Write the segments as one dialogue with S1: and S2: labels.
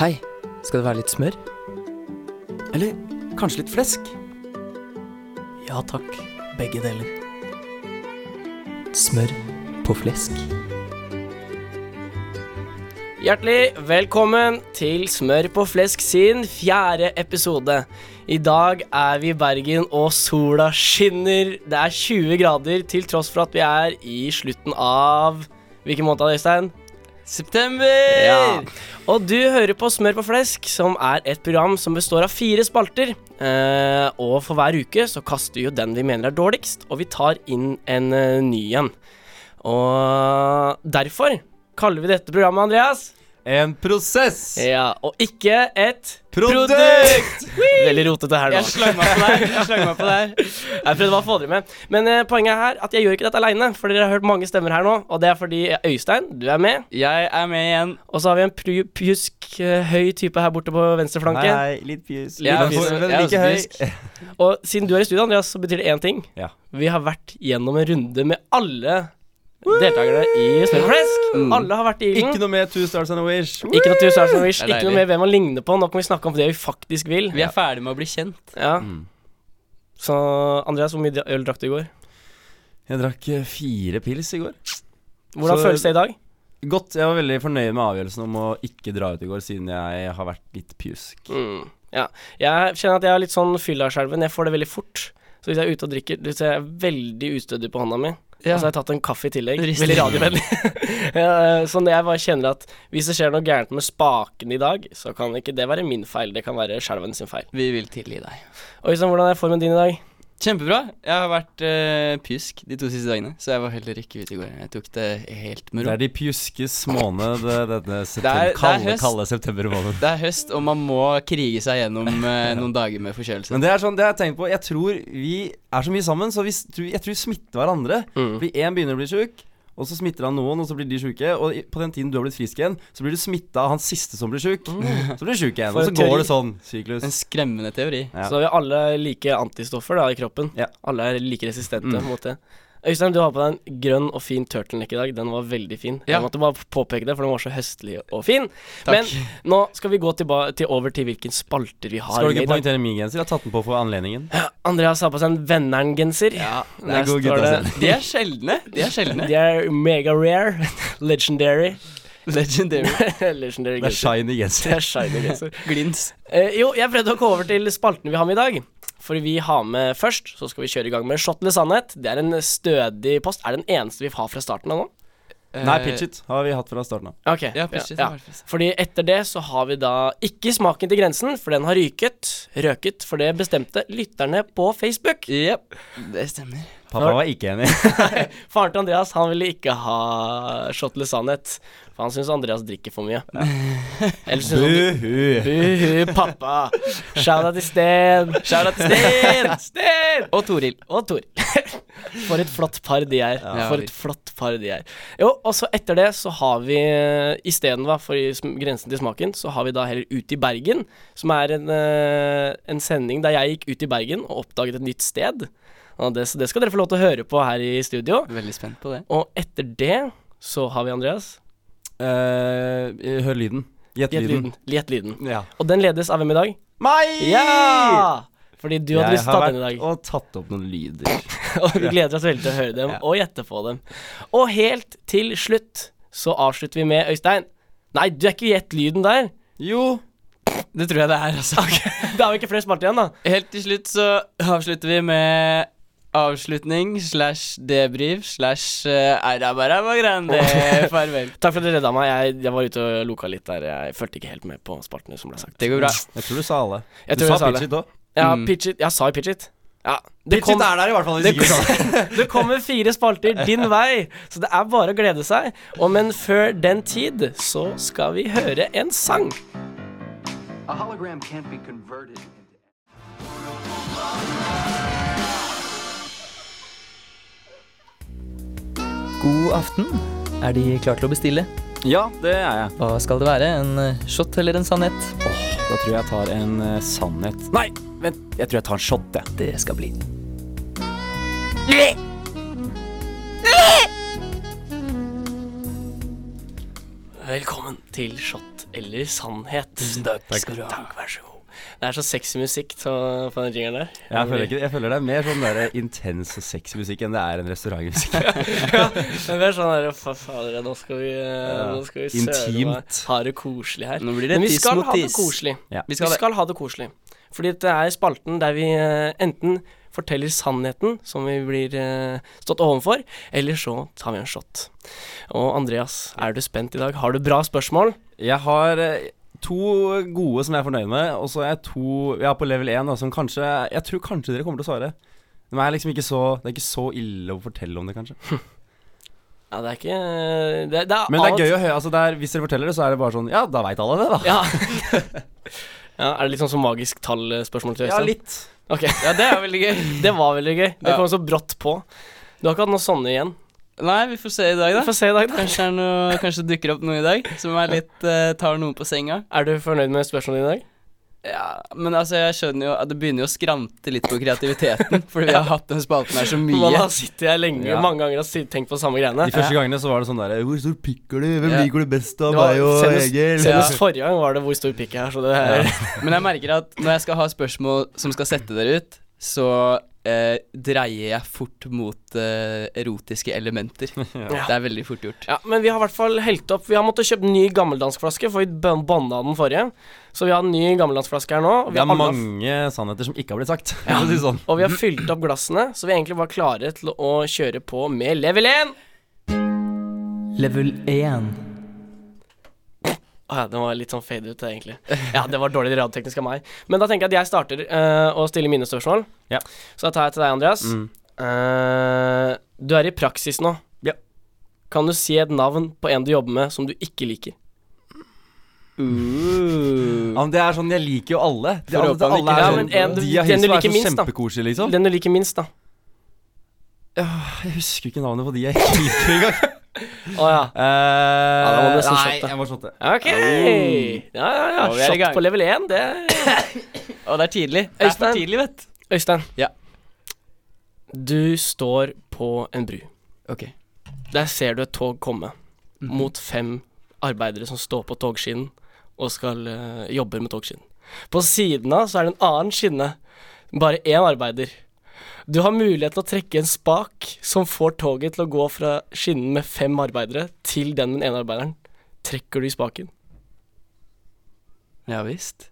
S1: Hei, skal det være litt smør?
S2: Eller kanskje litt flesk?
S1: Ja takk, begge deler. Smør på flesk. Hjertelig velkommen til Smør på flesk sin fjerde episode. I dag er vi i Bergen, og sola skinner. Det er 20 grader, til tross for at vi er i slutten av Hvilken måned, er det, Øystein?
S2: September!
S1: Ja. Og du hører på Smør på flesk, som er et program som består av fire spalter. Eh, og for hver uke så kaster vi jo den vi mener er dårligst, og vi tar inn en eh, ny en. Og derfor kaller vi dette programmet, Andreas,
S2: En prosess!
S1: Ja, og ikke et
S2: Eh, Produkt!
S1: Veldig rotete her nå.
S3: Jeg slang meg på der. Jeg slang meg på der.
S1: Jeg prøvde bare å få dere med. Men eh, poenget er at jeg gjør ikke dette aleine, for dere har hørt mange stemmer her nå. Og det er fordi eh, Øystein, du er med.
S3: Jeg er med igjen.
S1: Og så har vi en pru- pjusk eh, høy type her borte på venstre flanke.
S3: litt pjus.
S1: Litt
S3: Jeg er
S1: pjus.
S3: for-
S2: Men
S3: jeg er
S2: like
S3: også
S2: høy.
S3: pjusk.
S1: Og siden du er i studio, Andreas, så betyr det én ting.
S2: Ja.
S1: Vi har vært gjennom en runde med alle deltakerne i Smør og flesk. Alle har vært i
S2: Ikke
S1: ilden.
S2: noe med Two Stars and a Wish.
S1: Ikke noe tusen takk, Wish,
S3: Det er
S1: ikke noe
S3: deilig.
S1: med hvem man ligner på. Nå kan vi snakke om det vi faktisk vil.
S3: Vi er ferdig med å bli kjent.
S1: Ja. Så Andreas, hvor mye dra- øl drakk du i går?
S2: Jeg drakk eh, fire pils i går.
S1: Hvordan
S2: Så-
S1: føles det i dag?
S2: Godt. Jeg var veldig fornøyd med avgjørelsen om å ikke dra ut i går, siden jeg har vært litt pjusk.
S1: Mm. Ja. Jeg kjenner at jeg er litt sånn fyllaskjelven. Jeg får det veldig fort. Så hvis jeg er ute og drikker, så er jeg veldig ustødig på hånda mi. Og så har jeg tatt en kaffe i tillegg.
S3: Rister.
S1: Veldig radiovennlig. ja, sånn jeg bare kjenner at hvis det skjer noe gærent med spaken i dag, så kan ikke det være min feil, det kan være skjelven sin feil.
S3: Vi vil tilgi deg.
S1: Og Øystein, hvordan er formen din i dag?
S3: Kjempebra. Jeg har vært eh, pjusk de to siste dagene, så jeg var heller ikke ute i går. Jeg tok det helt med
S2: Det
S3: ro.
S2: er de pjuskes måned, det- denne
S3: Det
S2: september,
S3: er- det er
S2: kalde,
S3: høst.
S2: kalde septembermåneden.
S3: Det er høst, og man må krige seg gjennom eh, noen dager med forkjølelse.
S2: Men det er sånn, det har jeg tenkt på. Jeg tror vi er så mye sammen, så vi, s- tror- jeg tror vi smitter hverandre. Fordi én begynner å bli sjuk, og så smitter han noen, og så blir de sjuke. Og i- på den tiden du har blitt frisk igjen, så blir du smitta av han siste som blir sjuk. Så blir du sjuk igjen.
S1: Mm. For
S2: Og så
S1: en
S2: går
S1: teori.
S2: det sånn. Syklus.
S3: En skremmende teori.
S2: Ja.
S1: Så har vi alle like antistoffer da i kroppen.
S2: Ja.
S1: Alle er like resistente
S2: Mm.
S1: mot det. Øystein, du har på deg en grønn og fin turtleneck i dag. Den var veldig fin.
S3: Ja.
S1: Jeg måtte bare påpeke det, for den var så høstlig og fin.
S3: Takk.
S1: Men nå skal vi gå tilba til over til hvilken spalter vi har.
S2: Skal du
S1: med
S2: ikke
S1: i dag.
S2: poengtere min genser? Jeg har tatt den på for anledningen.
S1: Andreas har på seg en Venneren-genser.
S3: Ja,
S2: det er god guttastemning.
S3: De er sjeldne. De er sjeldne.
S1: De er mega rare. Legendary.
S3: Legendary.
S1: Legendary
S2: Det er
S1: genser.
S2: shiny
S1: Det
S2: genser.
S1: er shiny genser.
S3: Glins.
S1: Eh, jo, jeg prøvde å gå over til spalten vi har med i dag. For vi har med først, så skal vi kjøre i gang med Shot eller sannhet. Det er en stødig post. Er det den eneste vi har fra starten av nå?
S2: Nei, pitch it har vi hatt fra starten av.
S1: Ok.
S3: Eh, Ja, pitch it.
S1: ja. Fordi etter det så har vi da ikke smaken til grensen, for den har ryket. Røket, for det bestemte lytterne på Facebook.
S3: Jepp. Det stemmer.
S2: Pappa var ikke enig.
S1: Faren til Andreas han ville ikke ha shot eller sannhet, for han syns Andreas drikker for mye. Eller syns han
S2: Buhu.
S1: Buhu, pappa. Shout-out til Sten. Shout-out til Sten. Sten!
S3: Og Toril.
S1: Og Tor. For et flott par de er.
S3: Ja,
S1: For et flott par de er. Jo, og så etter det så har vi isteden, hva, for i sm- grensen til smaken, så har vi da heller Ut i Bergen, som er en, eh, en sending der jeg gikk ut i Bergen og oppdaget et nytt sted. Og det, så det skal dere få lov til å høre på her i studio.
S3: Veldig spent på det.
S1: Og etter det så har vi Andreas.
S2: Eh, hør lyden. Gjett
S1: Gjett
S2: lyden.
S1: lyden. Gjett lyden.
S2: Ja.
S1: Og den ledes av hvem i dag?
S2: Meg!
S1: Ja! Fordi du hadde
S2: Jeg
S1: lyst til å
S2: har
S1: ta
S2: vært
S1: den i dag.
S2: og tatt opp noen lyder.
S1: Og vi gleder oss veldig til å høre dem
S2: Ja.
S1: og gjette på dem. Og helt til slutt så avslutter vi med Øystein. Nei, du er ikke gjett lyden der.
S2: Jo.
S3: Det tror jeg det er, altså.
S1: Da har vi ikke flere spalter igjen, da.
S3: Helt til slutt så avslutter vi med avslutning slash debrief slash eh, Arabaraba Grande. Farvel.
S1: Takk for at dere redda meg. Jeg, jeg var ute og loka litt der. Jeg fulgte ikke helt med på spaltene som ble sagt.
S3: Det går bra.
S2: Jeg tror du sa alle.
S1: Jeg
S2: du
S1: tror jeg
S2: sa
S1: sa
S2: pitch it òg.
S1: Ja,
S3: Mm.
S1: pitch it. Jeg sa jo pitch it. Ja. Det, kom,
S2: er der i hvert fall.
S1: det, det kommer fire spalter din vei, så det er bare å glede seg. Og men før den tid så skal vi høre en sang.
S4: A hologram can't be converted into
S5: God aften. Er De klare til å bestille?
S2: Ja, det er jeg.
S5: Hva skal det være? En eh, shot eller en sannhet?
S2: Åh, da tror jeg jeg tar en eh, sannhet. Nei, vent. Jeg tror jeg tar en shot, jeg.
S5: Det skal bli.
S1: Velkommen til Shot eller sannhet. Takk, skal du ha. Takk, vær så god. Det er så sexy musikk så, på den jingeren der.
S2: Jeg føler, ikke, jeg føler det er mer sånn der intens og sexy musikk enn det er en restaurantmusikk.
S1: Men vi er sånn der, fa fader, nå skal vi, eh, nå skal vi søle
S2: Intimt.
S1: meg. Ha det koselig her.
S3: Nå blir det
S1: Men vi
S3: tiss
S1: skal
S3: mot
S1: ha det
S3: tiss.
S1: koselig.
S2: Ja.
S1: Vi, skal, ha det koselig. Fordi det er spalten der vi eh, enten forteller sannheten som vi blir eh, stått ovenfor, eller så tar vi en shot. Og Andreas, er du spent i dag? Har du bra spørsmål?
S2: Jeg har eh, to gode som jeg er fornøyd med, og så er jeg to Jeg er på level 1 da, som kanskje Jeg tror kanskje dere kommer til å svare. Men det er liksom ikke så, det er ikke så ille å fortelle om det, kanskje.
S1: Ja, det er ikke eh, det, det er
S2: Men det
S1: av-
S2: er gøy å høre. Altså det er, hvis dere forteller det, så er det bare sånn Ja, da veit alle det, da.
S1: Ja. ja. Er det litt sånn som magisk tall-spørsmål til Øystein?
S2: litt.
S1: Ok,
S3: Ja, det er veldig gøy.
S1: Det var veldig gøy. Det
S3: Ja.
S1: kom så brått på. Du har ikke hatt noe sånne igjen.
S3: Nei, vi får se i dag,
S1: Vi
S3: da.
S1: får se i dag, da.
S3: Kanskje, det er noe, kanskje det dukker opp noe i dag som er litt eh, tar noen på senga.
S1: Er du fornøyd med spørsmålet i dag?
S3: Ja, Men altså, jeg skjønner jo at det begynner jo å skrante litt på kreativiteten, fordi vi har hatt den spalten her så
S1: Man
S3: mye.
S1: har sittet her lenge
S2: Ja.
S1: mange ganger og sitt- tenkt på samme greiene.
S2: De første gangene så var det sånn derre Hvor stor pikk har du? Hvem
S3: Ja.
S2: liker du best av
S1: Det var-
S2: meg og
S1: senest-
S2: Egil?
S3: senest-
S1: Senest forrige gang var det 'hvor stor pikk jeg har', så det er
S3: Men jeg merker at når jeg skal ha spørsmål som skal sette dere ut, så eh, dreier jeg fort mot eh, erotiske elementer.
S1: Ja.
S3: Det er veldig fort gjort.
S1: Ja, men vi har i hvert fall helt opp Vi har måttet kjøpe ny gammeldanskflaske, for vi ban- banna den forrige. Så vi har en ny gammeldanskflaske her nå. og vi
S2: Det
S1: har
S2: er
S1: alle-
S2: mange sannheter som ikke har blitt sagt. Ja. Si sånn.
S1: Og vi har fylt opp glassene, så vi er egentlig bare klare til å kjøre på med level 1.
S5: Level 1.
S1: Å ja, den var litt sånn fade ut, egentlig. Ja, det var dårlig radioteknisk av meg. Men da tenker jeg at jeg starter eh, å stille mine spørsmål.
S2: Ja.
S1: Så da tar jeg til deg, Andreas.
S2: Mm.
S1: Eh, du er i praksis nå.
S2: Ja.
S1: Kan du si et navn på en du jobber med som du ikke liker? Mm.
S2: Ja, men det er sånn, jeg liker jo alle. De, alle,
S3: håper han
S2: alle er
S3: ikke-
S1: Ja,
S2: sånn,
S1: men en du-
S2: de jeg
S1: den du
S2: hilser på er
S1: liker
S2: så
S1: minst, da.
S2: kjempekoselige, liksom.
S1: Den du liker minst, da.
S2: Jeg husker ikke navnet på de jeg ikke liker engang.
S1: Å ja.
S2: Eh,
S1: da må du nesten
S2: nei,
S1: shotte.
S2: jeg må shotte.
S1: Ok! Ja, ja, ja.
S3: Og vi er i gang.
S1: Shot på level 1, det
S3: Og det er tidlig. Det er
S1: Øystein.
S3: for tidlig, vet du.
S1: Øystein.
S3: Ja.
S1: Du står på en bru.
S3: Ok.
S1: Der ser du et tog komme
S3: Mhm.
S1: mot fem arbeidere som står på togskinnen og skal eh, jobbe med togskinnen. På siden av så er det en annen skinne, bare én arbeider. Du har mulighet til å trekke en spak som får toget til å gå fra skinnen med fem arbeidere til den med den ene arbeideren. Trekker du i spaken?
S3: Ja visst.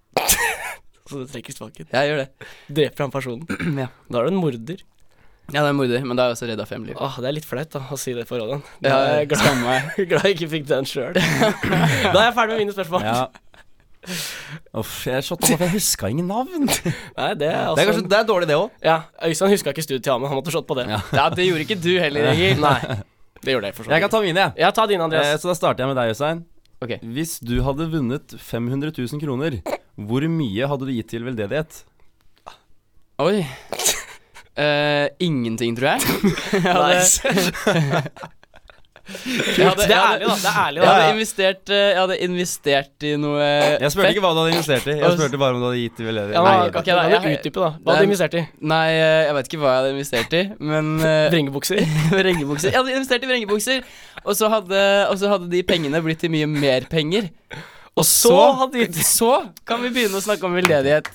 S1: Så du trekker spaken.
S3: Jeg gjør det.
S1: Dreper han personen.
S3: Ja.
S1: Da er du en morder.
S3: Ja, det er morder, men da er jeg også redd av fem liv.
S1: Åh, det er litt flaut da, å si det for radioen. Da er
S3: Jeg
S1: jeg glad,
S3: skammer meg.
S1: glad jeg ikke fikk den sjøl. da er jeg ferdig med mine spørsmål.
S2: Ja. Uff, jeg shotta bare, for jeg huska ingen navn. Det
S1: Nei, det er
S2: er
S1: altså
S2: kanskje det er dårlig, det òg.
S1: Ja, Øystein huska ikke studiet til Amund, han måtte slått på det.
S3: Ja, det gjorde ikke du heller, Egil.
S1: Nei, det gjorde jeg for så
S2: Jeg kan
S1: vidt.
S2: ta mine, jeg.
S1: Ja, ta din,
S2: Eh,
S1: Andreas.
S2: så da starter jeg med deg, Øystein.
S3: Ok.
S2: Hvis du hadde vunnet 500 000 kroner, hvor mye hadde du gitt til veldedighet?
S3: Oi. Eh, ingenting, tror jeg. jeg hadde,
S1: Nice.
S3: jeg hadde,
S1: Det
S3: jeg
S1: er ærlig,
S3: hadde,
S1: da. Det er ærlig,
S3: jeg
S1: da.
S3: hadde, investert, eh, jeg hadde investert i noe
S2: Jeg spurte ikke hva du hadde investert i. Jeg spurte bare om du hadde gitt til
S1: Ja, men,
S2: veldedighet.
S1: ok,
S3: ok,
S1: da,
S3: da,
S1: kan du
S3: jeg-
S1: utdype, da. Hva hadde
S3: Den-
S1: du investert i?
S3: Nei, eh, jeg vet ikke hva jeg hadde investert i, men eh,
S1: Vrengebukser?
S3: Vrengebukser. Jeg hadde investert i vrengebukser, og så hadde, og så hadde de pengene blitt til mye mer penger.
S1: Og så hadde de
S3: Så kan vi begynne å snakke om veldedighet.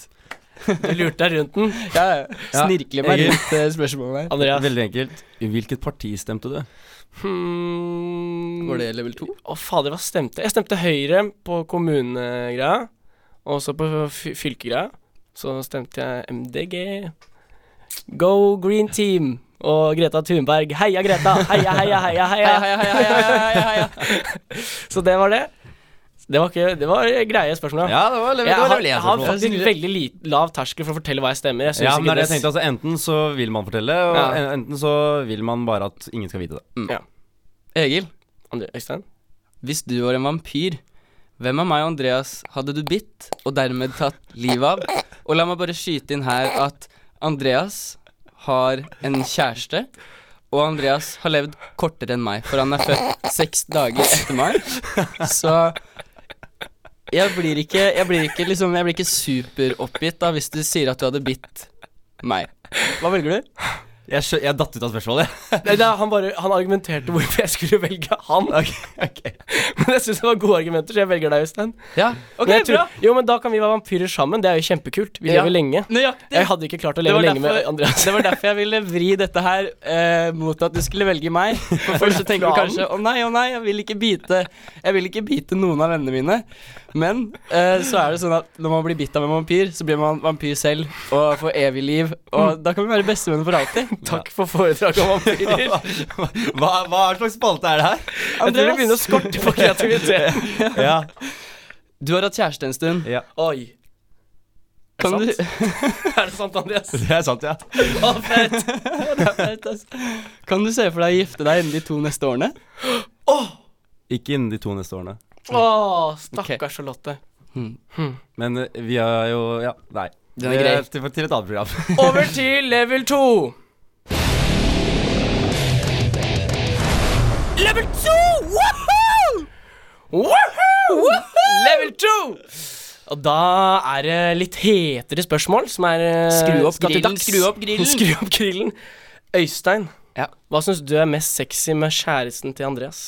S1: Du lurte deg rundt den.
S3: Ja, ja. snirkler meg
S2: Egil.
S3: rundt eh, spørsmålet her.
S1: Andreas.
S2: Veldig enkelt. I hvilket parti stemte du?
S1: Hmm.
S3: Var det level 2?
S1: Å, fader, hva stemte jeg? Jeg stemte Høyre på kommunegreia. Og så på fy- fylkegreia. Så stemte jeg MDG. Go Green Team! Og Greta Thunberg. Heia, Greta! Heia, heia, heia, heia!
S3: Heia, heia, heia, heia, heia, heia.
S1: Så det var det. Det var, ikke, det var greie spørsmål, ja.
S2: Ja, det var level,
S1: Jeg
S2: det var
S1: har,
S2: level
S1: jeg
S2: én
S1: har
S2: spørsmål.
S1: faktisk veldig lit, lav terskel for å fortelle hva jeg stemmer. Jeg synes
S2: Ja, men det
S1: ikke
S2: er det jeg tenkte. Altså, enten så vil man fortelle, og
S1: Ja.
S2: en- enten så vil man bare at ingen skal vite det.
S3: Egil,
S1: Andre, Øystein?
S3: hvis du var en vampyr, hvem av meg og Andreas hadde du bitt og dermed tatt livet av? Og la meg bare skyte inn her at Andreas har en kjæreste. Og Andreas har levd kortere enn meg, for han er født seks dager etter meg. Så jeg blir ikke, jeg blir ikke, liksom, jeg blir ikke superoppgitt da hvis du sier at du hadde bitt meg. Hva velger du?
S2: Jeg, skjø- jeg datt ut av spørsmålet, jeg.
S1: Nei, det er, han, bare, han argumenterte hvorfor jeg skulle velge han. Men jeg syns det var gode argumenter, så jeg velger deg, Øystein.
S3: Ja, ok,
S1: Men jeg tror-
S3: bra.
S1: Jo, men da kan vi være vampyrer sammen. Det er jo kjempekult. Vi
S3: Ja.
S1: lever lenge.
S3: Nøyaktig.
S1: Jeg hadde ikke klart å
S3: Det
S1: leve
S3: var,
S1: lenge med
S3: derfor,
S1: Andreas.
S3: det var derfor jeg ville vri dette her eh, mot at du skulle velge meg. For først så tenker du kanskje å nei, å nei, jeg vil ikke bite Jeg vil ikke bite noen av vennene mine. Men eh, så er det sånn at når man blir bitt av en vampyr, så blir man vampyr selv og får evig liv.
S1: Mm.
S3: Og da kan vi være bestevenner for alltid.
S1: Takk for foredraget om vampyrer.
S2: Hva, hva slags spalte er det her?
S1: Jeg tror det begynner å skorte på kreativitet.
S2: Ja,
S3: Du har hatt kjæreste en stund.
S2: ja.
S1: Oi.
S3: Kan du,
S1: Er det sant, Andreas?
S2: Det er sant, ja.
S1: Å, fett.
S3: altså. kan du se for deg å gifte deg innen de to neste årene?
S2: Ikke innen de to neste årene.
S1: Å, stakkars Charlotte.
S2: Men eh, vi har jo Ja, nei.
S3: Den er grei.
S2: Det Til, til et annet program.
S1: Over til level 2. Level 2! Woohoo! Woohoo! Level 2! Og da er det litt hetere spørsmål som er eh,
S3: Skru opp
S1: skal til
S3: grillen,
S1: dags.
S3: skru opp grillen.
S1: Skru opp grillen. Øystein,
S3: Ja.
S1: hva syns du er mest sexy med kjæresten til Andreas?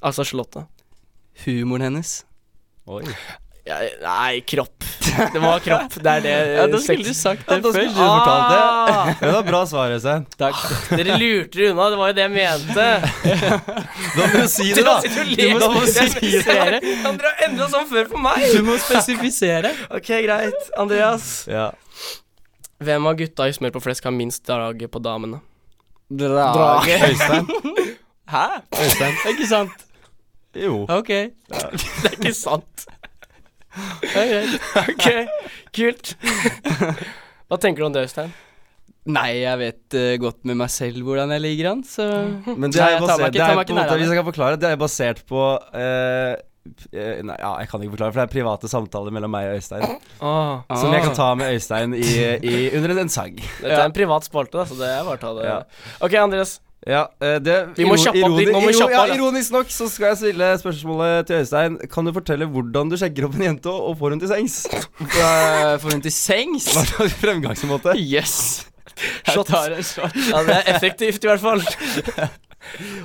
S1: Altså Charlotte.
S3: Humoren hennes.
S2: Oi.
S1: Jeg- nei, kropp. Det må være kropp. Det er det
S3: Ja, Da skulle
S1: sexy-
S3: du sagt det
S2: Da skulle
S3: først.
S2: du fortalt det.
S1: Eh, Ah!
S2: Det var bra svar, Øystein.
S3: Takk.
S1: Dere lurte dere unna, det var jo det jeg mente.
S2: Da må du si det, da.
S1: sitter og
S2: Du
S1: ler.
S2: må- da må du si det.
S1: Dere har endra sånn før for meg.
S3: Du må spesifisere.
S1: Ok, greit. Andreas.
S2: Ja.
S1: Hvem av gutta i Smør på flesk har minst drage på damene?
S2: Ah,
S3: Drage.
S2: Øystein.
S3: Hæ?
S2: Øystein.
S3: Det er ikke sant.
S2: Jo.
S3: Ok.
S1: Det er ikke sant.
S3: det er greit.
S1: Ok, kult. Hva tenker du om det, Øystein?
S3: Nei, jeg vet eh, godt med meg selv hvordan jeg ligger an, så
S2: Men det
S3: Nei,
S2: er jo
S3: jeg tar meg
S2: basert
S3: ikke-
S2: det
S3: tar
S2: er
S3: meg
S2: på en
S3: ikke nær
S2: måte,
S3: av
S2: Hvis jeg kan forklare, det er basert på eh, eh, Nei, ja, jeg kan ikke forklare, for det er private samtaler mellom meg og Øystein.
S1: Åh,
S2: Som jeg kan ta med Øystein i, i, under en, en sang.
S1: dette er en privat spalte, da, så det er bare å ta det.
S2: Ja.
S1: Ok, Andreas.
S2: Ja, eh, det,
S1: Vi må kjappe opp litt, man må kjappe
S2: ja,
S1: av, da.
S2: Ironisk nok så skal jeg stille spørsmålet til Øystein. Kan du fortelle hvordan du sjekker opp en jente og får henne til sengs?
S3: Får hun til sengs?
S2: Hva slags fremgangsmåte?
S3: Yes. Jeg tar en shot.
S1: Ja, Det er effektivt, i hvert fall.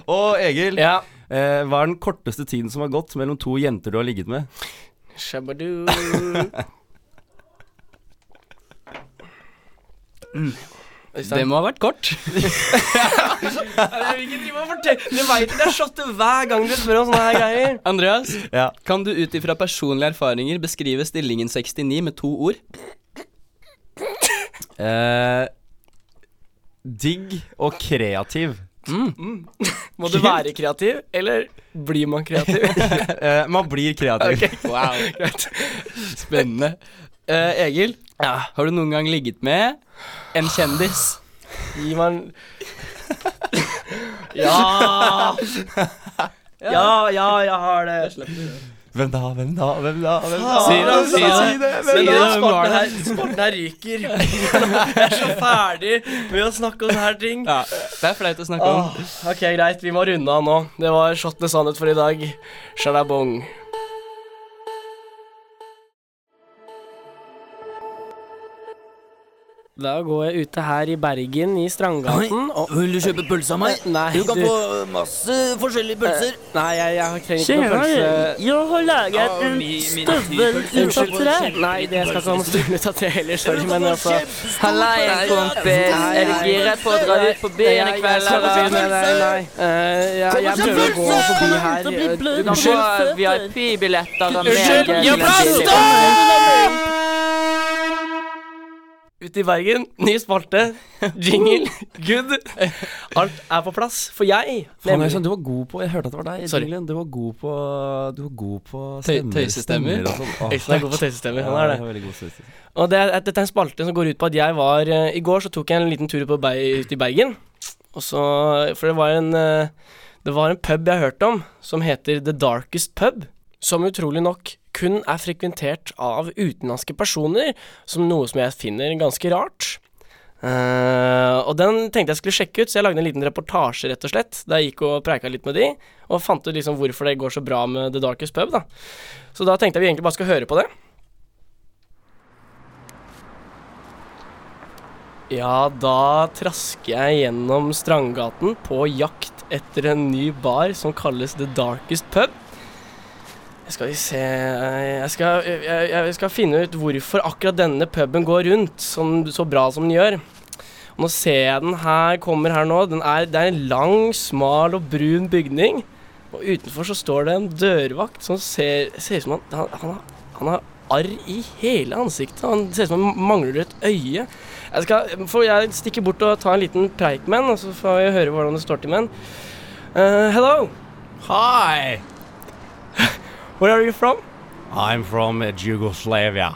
S2: Og Egil,
S1: Ja.
S2: eh, hva er den korteste tiden som har gått mellom to jenter du har ligget med?
S1: Shabadoo.
S3: Det må ha vært kort.
S1: Jeg vil ikke drive og fortelle Du vet at jeg shotter hver gang du spør om sånne her greier.
S3: Andreas,
S2: Ja.
S3: kan du ut ifra personlige erfaringer beskrive stillingen 69 med to ord?
S2: Eh, digg og kreativ.
S1: Må du være kreativ, eller blir man kreativ?
S2: Eh, man blir kreativ.
S3: Wow. Greit. Spennende. Eh, Egil, har du noen gang ligget med en kjendis?
S1: Gir man Ja! Ja, ja, jeg har det.
S2: Hvem da, hvem da, hvem da? Hvem da?
S1: Si det,
S2: Hvem
S1: si
S2: da?
S1: det.
S2: Si det, hvem da?
S1: Men den
S3: hvem var
S1: spalten
S3: det?
S1: her, spalten her ryker. Jeg er så ferdig med å snakke om sånne her ting.
S3: Ja, det er flaut å snakke om.
S1: Åh, ok, greit. Vi må runde av nå. Det var Shot med sannhet for i dag. Shalabong. Da går jeg ute her i Bergen, i Strandgaten. og- Eh,
S5: Vil du kjøpe pølse av meg?
S1: Nei, du kan få
S5: masse forskjellige pølser.
S1: Nei, jeg, jeg trenger ikke noe pølse.
S6: Jeg har laget en støvel ut av tre.
S1: Nei, det skal ikke ha noe støvle ut av det heller. Sorry, men altså
S6: Hallais, kompis. Er du gira på å dra ut på byen i kveld,
S1: Nei, nei,
S6: eller?
S1: nei, nei. Eh, jeg, jeg prøver å gå forbi her. eh,
S6: Du kan få VIP-billetter av meg.
S1: Unnskyld, jeg
S6: Glenn
S1: prater!
S6: Billy.
S1: Ute i Bergen, ny spalte, jingle, good. Alt er på plass. For jeg,
S2: Faen,
S1: nemlig
S2: Øystein, du var god på Jeg hørte at det var deg.
S1: Sorry.
S2: Jinglen. Du var god på Du var god på
S3: Tøy-
S2: stemmer.
S3: tøysestemmer.
S2: stemmer og sånn. Åh,
S1: Øystein er god på tøysestemmer. Han
S2: ja,
S1: er
S2: jeg
S1: det.
S2: har veldig god tøysestemmer.
S1: Og det er, dette er en spalte som går ut på at jeg var eh, I går så tok jeg en liten tur på bei, ut i Bergen. Og så For det var en eh, Det var en pub jeg hørte om, som heter The Darkest Pub. Som utrolig nok kun er frekventert av utenlandske personer, som noe som jeg finner ganske rart. Eh, og den tenkte jeg skulle sjekke ut, så jeg lagde en liten reportasje, rett og slett. Der jeg gikk og preika litt med de, og fant ut liksom hvorfor det går så bra med The Darkest Pub, da. Så da tenkte jeg vi egentlig bare skal høre på det. Ja, da trasker jeg gjennom Strandgaten på jakt etter en ny bar som kalles The Darkest Pub. Jeg skal se jeg skal, jeg, jeg skal finne ut hvorfor akkurat denne puben går rundt som, så bra som den gjør. Og nå ser jeg den her kommer her nå. Den er, det er en lang, smal og brun bygning. Og utenfor så står det en dørvakt som ser, ser ut som han, han, han, har, han har arr i hele ansiktet. Han ser ut som han mangler et øye. Jeg skal får jeg stikke bort og ta en liten preik med den, og så får vi høre hvordan det står til med den. Eh, hello,
S2: Hi!
S1: where are you from?
S2: I'm from uh, Yugoslavia.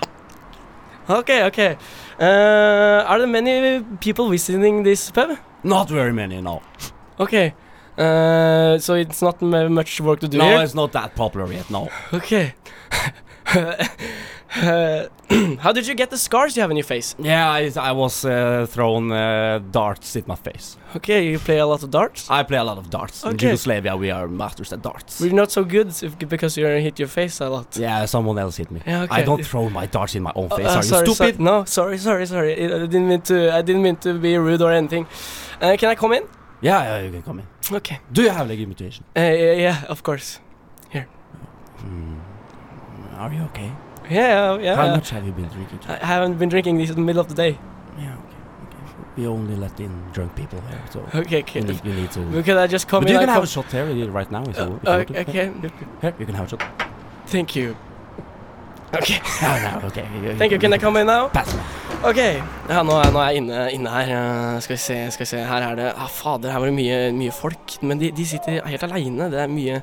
S1: Okay, okay. Eh, are there many people visiting this pub?
S2: Not very many, no.
S1: Okay. Eh, so it's not m- much work to do
S2: No,
S1: here?
S2: it's not that popular yet, no.
S1: Okay. Eh, how did you get the scars you have on your face?
S2: Yeah, I, I was uh, thrown uh, darts in my face.
S1: Okay, you play a lot of darts?
S2: I play a lot of darts. In
S1: Okay.
S2: Yugoslavia, we are masters at darts.
S1: We're not so good if, because you hit your face a lot.
S2: Yeah, someone else hit me.
S1: Yeah,
S2: I
S1: okay.
S2: don't throw my darts in my own face.
S1: Uh,
S2: are you
S1: sorry,
S2: stupid?
S1: Sorry, no, sorry, sorry, sorry. I I didn't mean to. I didn't mean to be rude or anything. Uh, can I come in?
S2: Yeah, yeah, you can come in.
S1: Okay.
S2: Do you have leg mutation?
S1: Uh, yeah, yeah, of course.
S2: Hmm, Are you okay?
S1: Yeah, yeah. yeah.
S2: How much have you been drinking?
S1: I haven't been drinking this in the middle of the day.
S2: Yeah, okay, okay. We only let in drunk people here, so
S1: Okay,
S2: you
S1: okay.
S2: need, you need to.
S1: Well, Can I just come
S2: Mm. But
S1: in?
S2: you
S1: I
S2: can have a
S1: come-
S2: shot here right now. If you, if you
S1: Uh,
S2: want to.
S1: okay.
S2: Here, you can have a shot.
S1: Thank you. Okay.
S2: Oh, no, okay.
S1: Thank you. Can I come in now?
S2: Pass me.
S1: Ok, ja, nå er, nå er jeg inne, inne her. Eh, skal vi se, skal vi se. Her er det ah, Fader, her var det mye, mye folk. Men de, de sitter helt aleine. Det er mye,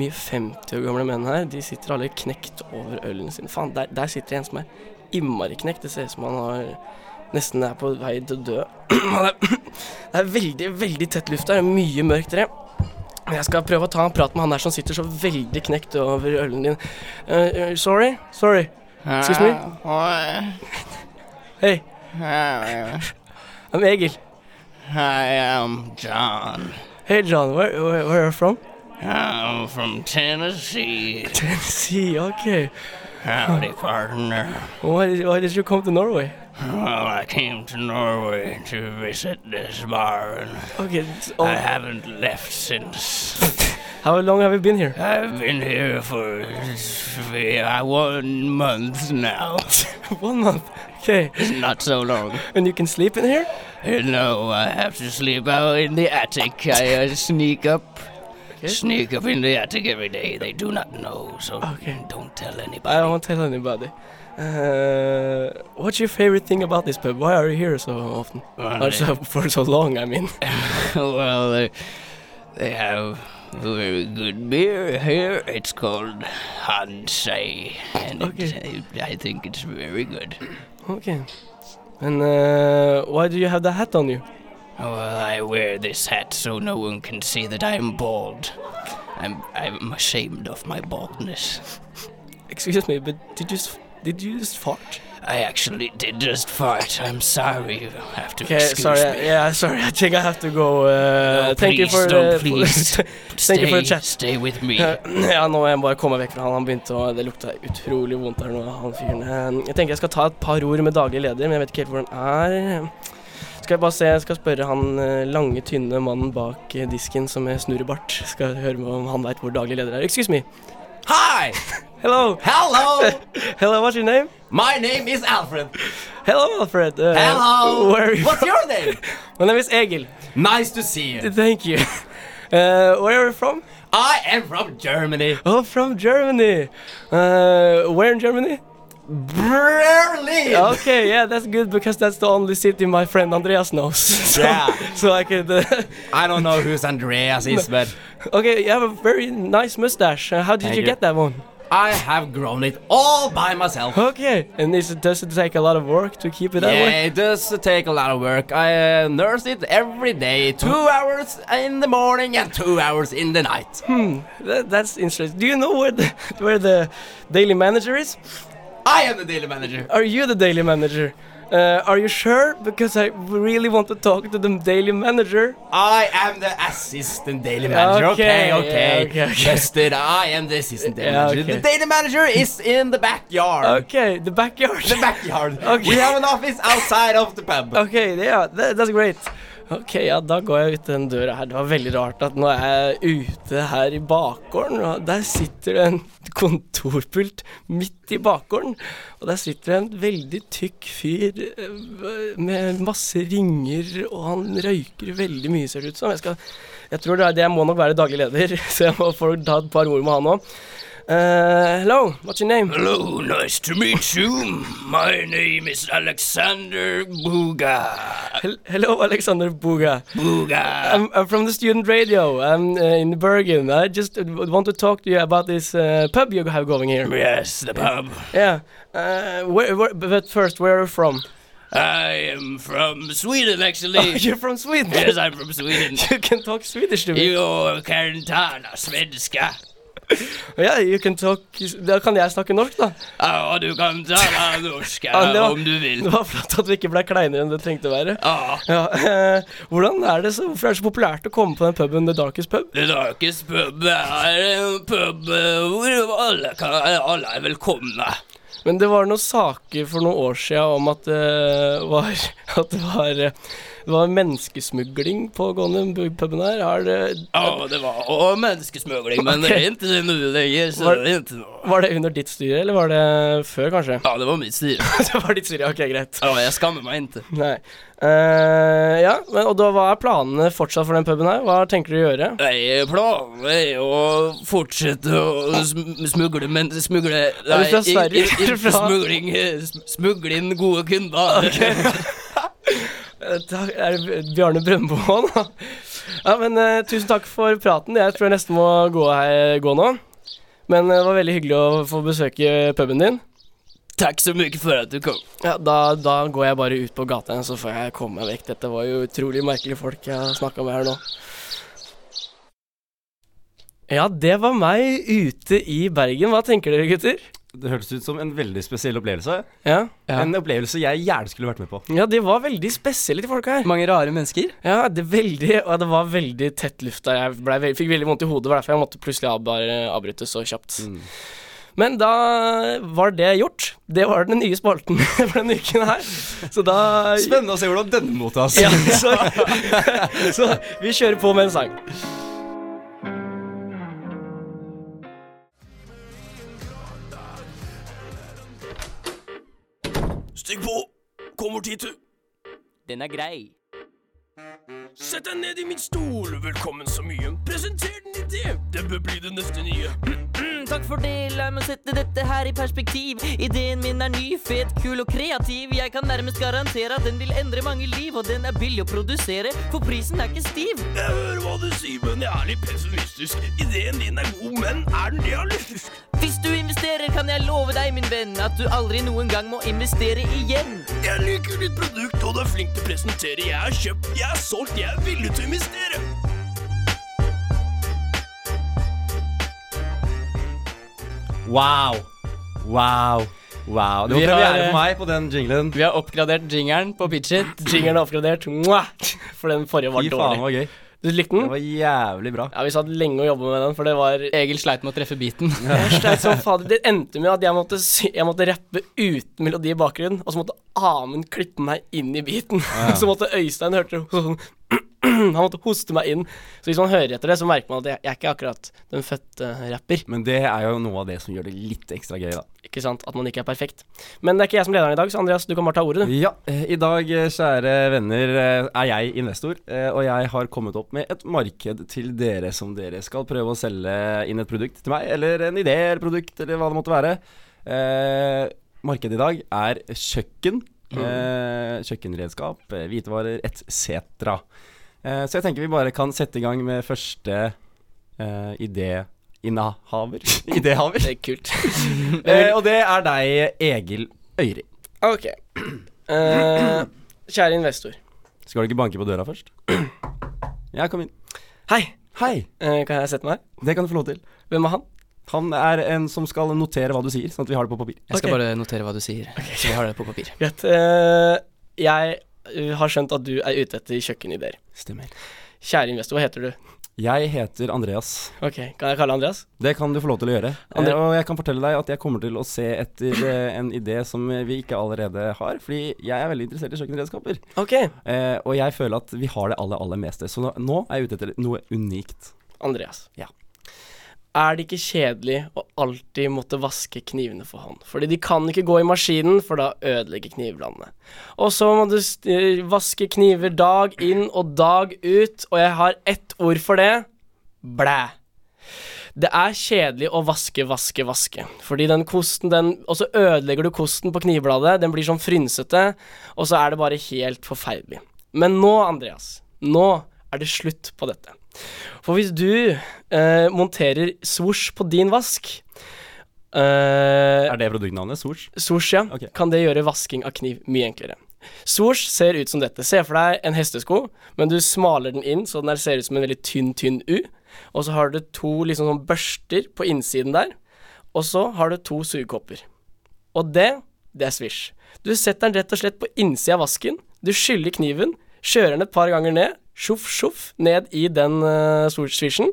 S1: mye 50 år gamle menn her. De sitter alle knekt over ølen sin. Faen, der, der sitter en som er innmari knekt. Det ser ut som han har nesten er på vei til å dø. Han er- det er veldig, veldig tett luft her. Mye mørkt tre. Jeg skal prøve å ta en prat med han der som sitter så veldig knekt over ølen din. Eh, eh, sorry? Sorry. Excuse me? Hei, I'm Egil.
S3: I am John.
S1: Hey John, where, where, where are you from?
S3: I'm from Tennessee.
S1: Tennessee, okay.
S3: Howdy, partner.
S1: Why did, why did you come to Norway?
S3: Well, I came to Norway to visit this bar, and
S1: Okay, it's all-
S3: I haven't left since.
S1: how long have you been here?
S3: I've been here for uh, one month now.
S1: One month. Okay,
S3: Not so long.
S1: and you can sleep in here?
S3: Uh, No, I have to sleep out in the attic. I uh, sneak up. Sneak up in the attic every day. They do not know, so
S1: Okay.
S3: don't tell anybody.
S1: I won't tell anybody. Uh, what's your favorite thing about this pub? Why are you here so often? Or Oh, so, for so long, I mean.
S3: well, they, they have very good beer here. It's called Hansei, and
S1: Okay.
S3: it, I think it's very good.
S1: Okay. And uh, why do you have the hat on you?
S3: Well, I wear this hat so no one can see that I'm bald. I'm I'm ashamed of my baldness.
S1: Excuse me, but did you s- did you just fart?
S3: I actually did just fart. I'm sorry. You have to
S1: Okay,
S3: excuse
S1: sorry.
S3: me.
S1: Yeah, sorry. I think I have to go. Uh,
S3: No,
S1: thank you
S3: please,
S1: for.
S3: no,
S1: uh,
S3: please.
S1: Stay- thank you for the chat. Uh,
S3: Stay with me.
S1: Ja, nå må jeg bare komme meg vekk fra han. Han begynte å Det lukta utrolig vondt her nå, han fyren. Eh, Jeg tenker jeg skal ta et par ord med daglig leder, men jeg vet ikke helt hvor han er. Skal jeg bare se, jeg skal spørre han eh, lange, tynne mannen bak eh, disken som er snurrebart. Skal jeg høre med om han veit hvor daglig leder er. Excuse me.
S2: Hi!
S1: Hello.
S2: Hello!
S1: Hello, what's your name?
S2: My name is Alfred.
S1: Hello, Alfred. Uh,
S2: Hello!
S1: Where are you?
S2: What's your name?
S1: My name is Egil.
S2: nice to see you.
S1: Thank you. Uh, where are you from?
S2: I am from Germany.
S1: Oh, from Germany. Uh, where in Germany?
S2: Berlin!
S1: Okay, yeah, that's good because that's the only city my friend Andreas knows. So,
S2: Yeah.
S1: so I could. Uh,
S2: I don't know who's Andreas is, but
S1: okay, you have a very nice mustache. Uh, how did
S2: Thank
S1: you
S2: you.
S1: get that one?
S2: I have grown it all by myself.
S1: Okay, and is it, does it take a lot of work to keep it that way?
S2: Yeah, it does take a lot of work. I uh, nurse it every day, two hours in the morning and two hours in the night.
S1: That, that's interesting. Do you know where the where the daily manager is?
S2: I am the daily manager.
S1: Are you the daily manager? Uh, are you sure? Because I really want to talk to the daily manager.
S2: I am the assistant daily manager. Okay, okay.
S1: Okay, yeah, okay, okay.
S2: Justin, I am the assistant daily
S1: Yeah,
S2: manager.
S1: okay.
S2: The daily manager is in the backyard.
S1: Okay, the backyard.
S2: The backyard.
S1: Okay.
S2: We have an office outside of the pub.
S1: Ok, det- ja, that, that's great. Ok, ja, da går jeg ut den døra her. Det var veldig rart at nå er jeg ute her i bakgården, og der sitter det en kontorpult midt i bakgården. Og der sitter det en veldig tykk fyr eh, med masse ringer, og han røyker veldig mye, ser det ut som. Jeg, skal, jeg tror det, er, det må nok være daglig leder, så jeg må få ta et par ord med han òg. hello, what's your name?
S5: Hello, nice to meet you. My name is Alexander Buga.
S1: Hel- Hello, Alexander Buga.
S5: Buga.
S1: I'm, I'm from the student radio. I'm uh, in Bergen. I just uh, w- want to talk to you about this uh, pub you have going here.
S5: Yes, the pub.
S1: Yeah. Uh, where, where, but first, where are you from?
S5: I am from Sweden,
S1: Oh,
S5: actually.
S1: you're from Sweden.
S5: yes, I'm from Sweden.
S1: you can talk Swedish to me.
S5: You're Karantana, svenska.
S1: yeah, you can talk. Da kan jeg snakke norsk, da.
S5: Ja, du kan tala norska
S1: Ja, det var-
S5: om du
S1: Det
S5: vil.
S1: var flott at vi ikke ble kleinere enn det trengte å være.
S5: Ja,
S1: Ja, eh, hvordan er det så, Hvorfor er det så populært å komme på den puben The Darkest Pub?
S5: The Darkest Pub er en pub eh, hvor alle, kan, alle er velkomne.
S1: Men det var noen saker for noen år siden om at det var, at det var, eh, det var menneskesmugling pågående i bu- puben her. Har det,
S5: Ja, det var også menneskesmugling, men det er ikke nå lenger, så
S1: Var-
S5: det er ikke noe.
S1: var det under ditt styre, eller var det før, kanskje?
S5: Ja, det var mitt styre.
S1: det var ditt styre, ok, greit.
S5: Ja, jeg skammer meg ikke.
S1: Nei. Eh, ja, men, og da, hva er planene fortsatt for den puben her? Hva tenker du å gjøre?
S5: Nei, planen er jo å fortsette å sm- smugle, men smugle Nei,
S1: fra Sverige?
S5: ikke- ikke
S1: Er du fra-
S5: smugling, eh, sm- smugle inn gode kunder.
S1: Eh, Da er det Bjarne Brøndbo nå. Ja, men eh, tusen takk for praten. Jeg tror jeg nesten må gå, her, gå nå. Men eh, det var veldig hyggelig å få besøke puben din.
S5: Takk så mye for at du kom.
S1: Ja, da, da går jeg bare ut på gata igjen, så får jeg komme meg vekk. Dette var jo utrolig merkelige folk jeg har snakka med her nå. Ja, det var meg ute i Bergen. Hva tenker dere, gutter?
S2: Det hørtes ut som en veldig spesiell opplevelse.
S1: Ja,
S3: Ja.
S2: En opplevelse jeg gjerne skulle vært med på.
S1: ja de var veldig spesielle, de folka her.
S3: Mange rare mennesker.
S1: Ja, det, er veldig, og det var veldig tett luft der. Jeg ble, ve- fikk veldig vondt i hodet, det var derfor jeg måtte plutselig av- bare avbryte så kjapt. Men da var det gjort. Det var den nye spalten for denne uken her. Så da
S2: Spennende å se hvordan denne mottas.
S1: Ja, så, så vi kjører på med en sang.
S5: Stig på. Kommer tid til.
S6: Den er grei.
S5: Sett deg ned i min stol. Velkommen så mye. Presenter din idé. Det bør bli det neste nye.
S6: Mm, takk for det, la meg sette dette her i perspektiv. Ideen min er ny, fet, kul og kreativ. Jeg kan nærmest garantere at den vil endre mange liv, og den er billig å produsere, for prisen er ikke stiv.
S5: Jeg hører hva du sier, men jeg er litt pessimistisk. Ideen din er god, men er den realistisk?
S6: Hvis du investerer, kan jeg love deg, min venn, at du aldri noen gang må investere igjen.
S5: Jeg liker ditt produkt, og du er flink til å presentere. Jeg har kjøpt, jeg har solgt, jeg er villig til å investere.
S2: Wow. Wow. Wow. Det var
S3: Vi har,
S2: premiere
S3: eh,
S2: for meg på den jinglen.
S3: Vi har oppgradert jingeren på Pitch It.
S1: Jingeren er oppgradert. Mwah! For den forrige var
S2: Fy faen, det
S1: dårlig.
S2: var gøy.
S1: Du likte
S2: Det
S1: den?
S2: var jævlig bra.
S1: Ja, Vi satt lenge og jobba med den, for det var
S3: Egil sleit med å treffe beaten.
S1: Jeg sleit som fader. Det endte med at jeg måtte, sy jeg måtte rappe uten melodi i bakgrunnen, og så måtte Amund klippe meg inn i biten. Så måtte Øystein hørte det sånn Han måtte hoste meg inn. Så hvis man hører etter det, så merker man at jeg, jeg er ikke akkurat den fødte rapper.
S2: Men det er jo noe av det som gjør det litt ekstra gøy, da.
S1: Ikke sant? At man ikke er perfekt. Men det er ikke jeg som leder den i dag, så Andreas, du kan bare ta ordet, du.
S2: Ja, eh, i dag, eh, kjære venner, eh, er jeg investor, eh, og jeg har kommet opp med et marked til dere som dere skal prøve å selge inn et produkt til meg, eller en idé eller produkt, eller hva det måtte være. Eh, markedet i dag er kjøkken, eh, kjøkkenredskap, eh, hvitevarer etc. Eh, så jeg tenker vi bare kan sette i gang med første eh, idé... Innehaver. Idéhaver.
S1: Det er kult.
S2: Eh, og det er deg, Egil Øyri.
S1: Ok. Eh, kjære investor.
S2: Skal du ikke banke på døra først? Ja, kom inn.
S1: Hei,
S2: Hei!
S1: eh, kan jeg sette meg?
S2: Det kan du få lov til.
S1: Hvem er han?
S2: Han er en som skal notere hva du sier, sånn at vi har det på papir.
S3: Jeg skal
S1: Ok.
S3: bare notere hva du sier, så vi har det på papir.
S1: Greit. Eh, jeg eh, har skjønt at du er ute etter kjøkkenideer.
S2: Stemmer.
S1: Kjære investor, hva heter du?
S2: Jeg heter Andreas.
S1: Ok, Kan jeg kalle deg Andreas?
S2: Det kan du få lov til å gjøre.
S1: Andre-
S2: Eh, og jeg kan fortelle deg at jeg kommer til å se etter eh, en idé som vi ikke allerede har, fordi jeg er veldig interessert i kjøkkenredskaper.
S1: Ok,
S2: Eh, og jeg føler at vi har det aller, aller meste, så nå, nå er jeg ute etter noe unikt.
S1: Andreas.
S2: Ja.
S1: Er det ikke kjedelig å alltid måtte vaske knivene for hånd? Fordi de kan ikke gå i maskinen, for da ødelegger knivbladene. Og så må du st eh, vaske kniver dag inn og dag ut, og jeg har ett ord for det. Blæ. Det er kjedelig å vaske, vaske, vaske. Fordi den kosten, den Og så ødelegger du kosten på knivbladet. Den blir sånn frynsete, og så er det bare helt forferdelig. Men nå, Andreas, nå er det slutt på dette. For hvis du eh, monterer svosj på din vask eh,
S2: Er det produktnavnet? Sors?
S1: Swoosh, ja.
S2: Ok.
S1: Kan det gjøre vasking av kniv mye enklere. Swoosh ser ut som dette. Se for deg en hestesko, men du smaler den inn så den her ser ut som en veldig tynn, tynn U. Og så har du to liksom sånn børster på innsiden der, og så har du to sugekopper. Og det, det er swish. Du setter den rett og slett på innsida av vasken, du skyller kniven, kjører den et par ganger ned, sjoff, sjoff, ned i den uh, swishen,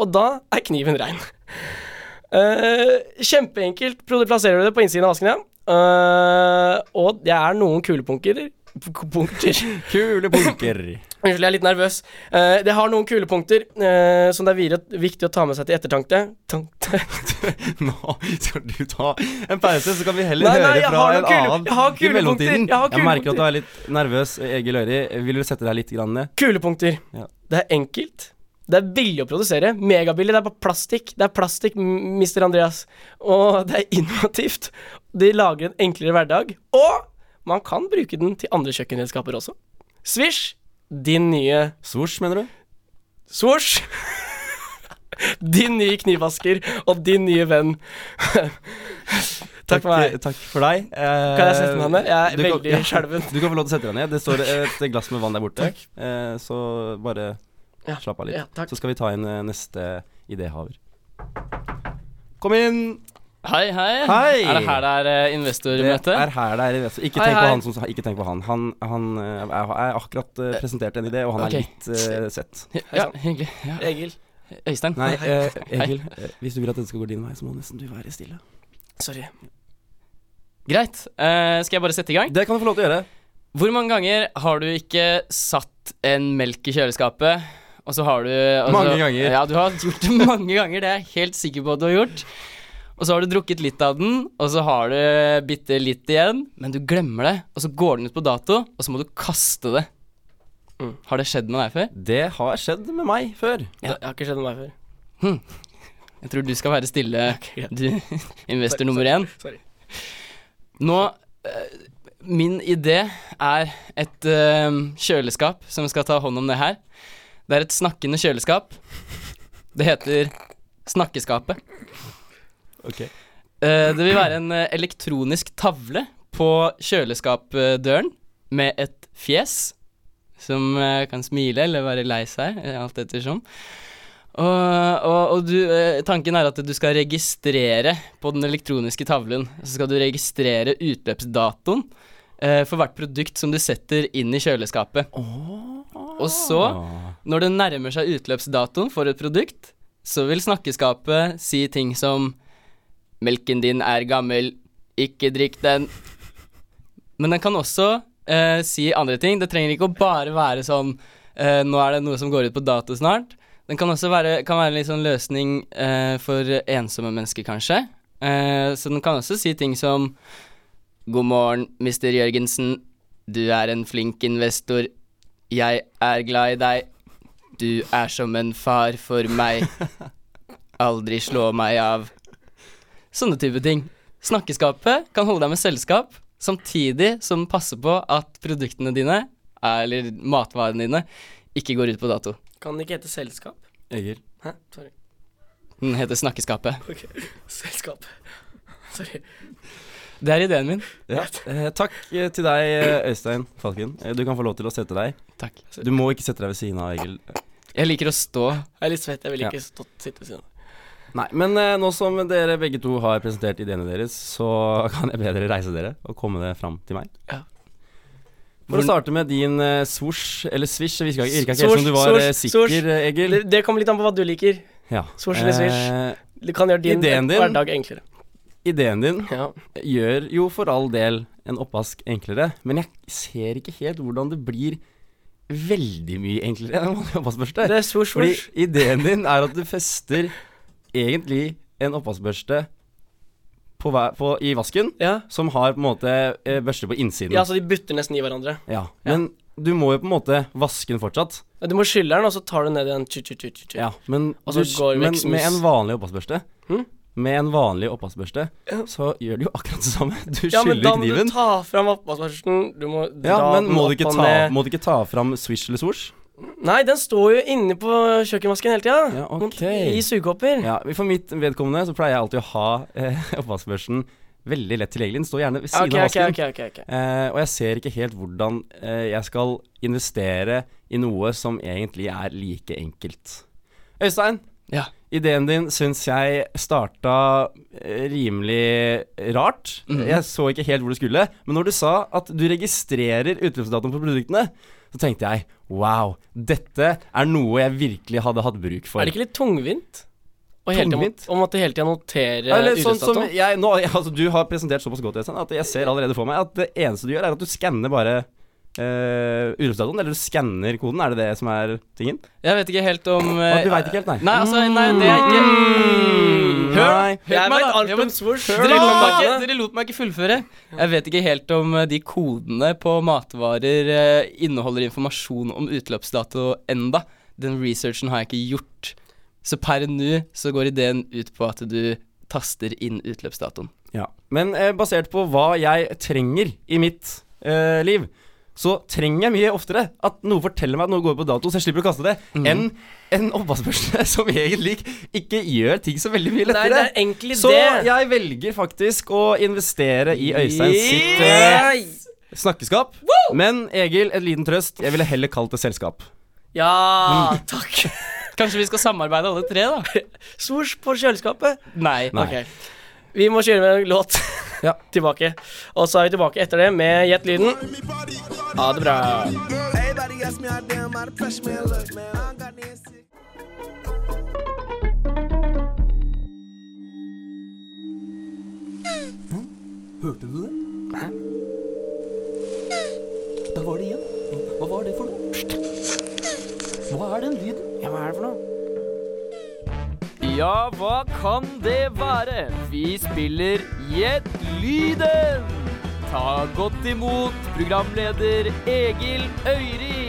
S1: og da er kniven rein. Eh, kjempeenkelt pro- plasserer du det på innsiden av vasken, ja. Eh, og det er noen kulepunkter. Punkter.
S2: Kule punker.
S1: Unnskyld, jeg er litt nervøs. Eh, det har noen kulepunkter eh, som det er videre- viktig å ta med seg til ettertanke. Tankte.
S2: nå skal du ta en pause, så kan vi heller
S1: Nei, nei, jeg
S2: høre fra
S1: har
S2: en
S1: noen kule-
S2: annen
S1: jeg har
S2: i mellomtiden.
S1: kulepunkter, jeg har
S2: merker
S1: kulepunkter.
S2: at du er litt nervøs, Egil Øri. Vil du sette deg litt grann ned?
S1: Kulepunkter.
S2: Ja.
S1: Det er enkelt. Det er billig å produsere. Megabillig. Det er bare plastikk. Det er plastikk, m- Mr. Andreas. Og det er innovativt. De lager en enklere hverdag. Og man kan bruke den til andre kjøkkenredskaper også. Swish, din nye
S2: Sors, mener du?
S1: Swoosh! Din nye knivvasker og din nye venn. Takk for meg.
S2: Takk for deg. Eh,
S1: Kan jeg sette meg ned? Jeg er
S2: du kan-
S1: veldig skjelven.
S2: Du kan få lov til å sette deg ned. Det står et glass med vann der borte. Eh, så bare
S1: Ja.
S2: slapp av litt.
S1: Ja, takk.
S2: så skal vi ta inn eh, neste idéhaver. Kom inn!
S3: Hei, hei.
S2: Hei.
S3: Er det her det er eh,
S2: Det
S3: investormøte?
S2: er her det er i Veso. Ikke
S3: Hei,
S2: tenk på
S3: hei.
S2: han som sa Ikke tenk på han. Han, han eh, er, er akkurat eh, presentert en idé, og han
S3: Ok.
S2: er litt eh, sett.
S3: Ja, hyggelig. Ja.
S1: Egil.
S3: Øystein.
S2: Nei, eh, Egil, eh, hvis du vil at dette skal gå din vei, så må nesten du være stille.
S1: Sorry.
S3: Greit. Eh, skal jeg bare sette i gang?
S2: Det kan du få lov til å gjøre.
S3: Hvor mange ganger har du ikke satt en melk i kjøleskapet, og så har du altså,
S2: Mange ganger.
S3: Ja, du har gjort det mange ganger, det er jeg helt sikker på at du har gjort. Og så har du drukket litt av den, og så har du bitte litt igjen, men du glemmer det, og så går den ut på dato, og så må du kaste det. Har det skjedd med deg før?
S2: Det har skjedd med meg før.
S1: Det har ikke skjedd med meg før.
S3: Jeg tror du skal være stille,
S1: greit.
S3: du, investor nummer én.
S1: sorry.
S3: Nå eh, Min idé er et eh, kjøleskap som skal ta hånd om det her. Det er et snakkende kjøleskap. Det heter Snakkeskapet.
S2: Ok.
S3: Eh, det vil være en eh, elektronisk tavle på kjøleskapdøren med et fjes som eh, kan smile eller være lei seg, eh, alt ettersom. Og, og, og du, eh, tanken er at du skal registrere på den elektroniske tavlen. Så skal du registrere utløpsdatoen eh, for hvert produkt som du setter inn i kjøleskapet. Og så, når det nærmer seg utløpsdatoen for et produkt, så vil snakkeskapet si ting som Melken din er gammel, ikke drikk den. Men den kan også eh, si andre ting. Det trenger ikke å bare være sånn eh, Nå er det noe som går ut på dato snart. Den kan også være, kan være en litt sånn løsning eh, for ensomme mennesker, kanskje. Eh, så den kan også si ting som God morgen, Mr. Jørgensen. Du er en flink investor. Jeg er glad i deg. Du er som en far for meg. Aldri slå meg av. Sånne type ting. Snakkeskapet kan holde deg med selskap, samtidig som den passer på at produktene dine, eller matvarene dine, ikke går ut på dato.
S1: Kan det ikke hete selskap?
S2: Egil.
S1: Hæ? Sorry.
S3: Den heter Snakkeskapet.
S1: Ok. Selskap. Sorry.
S3: Det er ideen min.
S2: Ja. Eh, takk eh, til deg, eh, Øystein Falken. Eh, Du kan få lov til å sette deg.
S3: Takk.
S2: Du må ikke sette deg ved siden av Egil. Eh,
S3: Jeg liker å stå.
S1: Jeg er litt svett. Jeg vil
S2: Ja.
S1: ikke stå, sitte ved siden av.
S2: Nei, men eh, nå som dere begge to har presentert ideene deres, så kan jeg be dere reise dere og komme det fram til meg.
S1: Ja.
S2: For å
S1: Hvor-
S2: starte med din uh, swoosh, eller swish, det virka ikke virka ikke helt
S1: Swoosh,
S2: som du var eh,
S1: swoosh,
S2: sikker,
S1: swoosh.
S2: eh, Egil.
S1: Det, det kommer litt an på hva du liker.
S2: Ja.
S1: Swoosh eller swish?
S2: Eh,
S1: Du kan gjøre din,
S2: Ideen din?
S1: hverdag enklere.
S2: ideen din
S1: Ja.
S2: gjør jo for all del en oppvask enklere, men jeg ser ikke helt hvordan det blir veldig mye enklere enn en oppvaskbørste.
S1: Det er swoosh,
S2: Fordi
S1: swoosh.
S2: ideen din er at du fester egentlig en oppvaskbørste på hver, på, i vasken,
S1: Ja.
S2: som har på en måte eh, børste på innsiden.
S1: ja, så de butter nesten i hverandre.
S2: Ja. Men du må jo på en måte vaske den fortsatt.
S1: Ja, Du må skylle den, og så tar du ned igjen. Tju, tju, tju, tju, tju.
S2: Ja, men,
S1: Og
S2: du,
S1: så går det
S2: men
S1: vekk
S2: med
S1: smuss.
S2: en vanlig oppvaskbørste
S1: Hm?
S2: Med en vanlig oppvaskbørste så gjør du jo akkurat det samme. Du
S1: Ja, men
S2: skyller
S1: da må
S2: kniven.
S1: du ta fram oppvaskbørsten. Du må dra
S2: Ja, men
S1: den
S2: må du,
S1: opp
S2: ikke
S1: og
S2: ta,
S1: ned.
S2: må du ikke ta fram swish eller swoosh?
S1: Nei, den står jo inne på kjøkkenvasken hele tida.
S2: Ja, ok.
S1: I sugekopper.
S2: Ja, For mitt vedkommende så pleier jeg alltid å ha eh, oppvaskbørsten veldig lett tilgjengelig. Den står gjerne ved
S1: Ja,
S2: siden
S1: ok,
S2: av
S1: ok,
S2: vasken.
S1: ok, ok, ok.
S2: Eh, og jeg ser ikke helt hvordan eh, jeg skal investere i noe som egentlig er like enkelt. Øystein,
S3: Ja.
S2: ideen din syns jeg starta eh, rimelig rart. Jeg så ikke helt hvor du skulle, men når du sa at du registrerer utløpsdatoen på produktene, så tenkte jeg wow, dette er noe jeg virkelig hadde hatt bruk for.
S1: Er det ikke litt tungvint? Og hele tiden,
S2: Tungvint?
S1: å måtte hele tida notere
S2: Eller sånn som
S1: utløpsdatoen?
S2: jeg, nå, altså, Du har presentert såpass godt Øystein, at jeg ser allerede for meg at det eneste du gjør, er at du skanner bare uh, utløpsdatoen. Eller du skanner koden, er det det som er tingen?
S3: Jeg vet ikke helt om eh,
S2: Å, du vet ikke helt, nei. Mm,
S3: Nei, altså, nei, det er ikke Hør,
S2: Nei.
S3: hør
S1: Jeg
S3: på meg,
S1: vet
S3: da.
S1: alt
S3: Ja, men
S1: om swoosh.
S3: Dere lot, meg ikke,
S1: Dere-
S3: dere lot meg ikke fullføre. Jeg vet ikke helt om eh, de kodene på matvarer eh, inneholder informasjon om utløpsdato enda. Den researchen har jeg ikke gjort. Så per nå så går ideen ut på at du taster inn utløpsdatoen.
S2: Ja. Men eh, basert på hva jeg trenger i mitt eh, liv, så trenger jeg mye oftere at noe forteller meg at noe går på dato, så jeg slipper å kaste det,
S1: Mhm.
S2: enn en oppvaskbørste som egentlig ikke gjør ting så veldig mye
S1: Nei,
S2: lettere.
S1: det er egentlig
S2: så
S1: det.
S2: jeg velger faktisk å investere i Øystein sitt eh,
S1: Yes!
S2: Snakkeskap. Men Egil, en liten trøst. Jeg ville heller kalt det selskap.
S1: Ja, takk.
S3: Kanskje vi skal samarbeide alle tre, da?
S1: Swoosh på kjøleskapet.
S3: Nei.
S2: Nei.
S1: Ok. Vi må kjøre med en låt
S2: Ja.
S1: tilbake. Og så er vi tilbake etter det med Gjett lyden. Ha det bra.
S6: Da var det igjen. Hva var det for noe? Hva er den lyden?
S1: Ja, hva er det for noe?
S6: Ja, hva kan det være? Vi spiller Gjett lyden! Ta godt imot programleder Egil Øyri.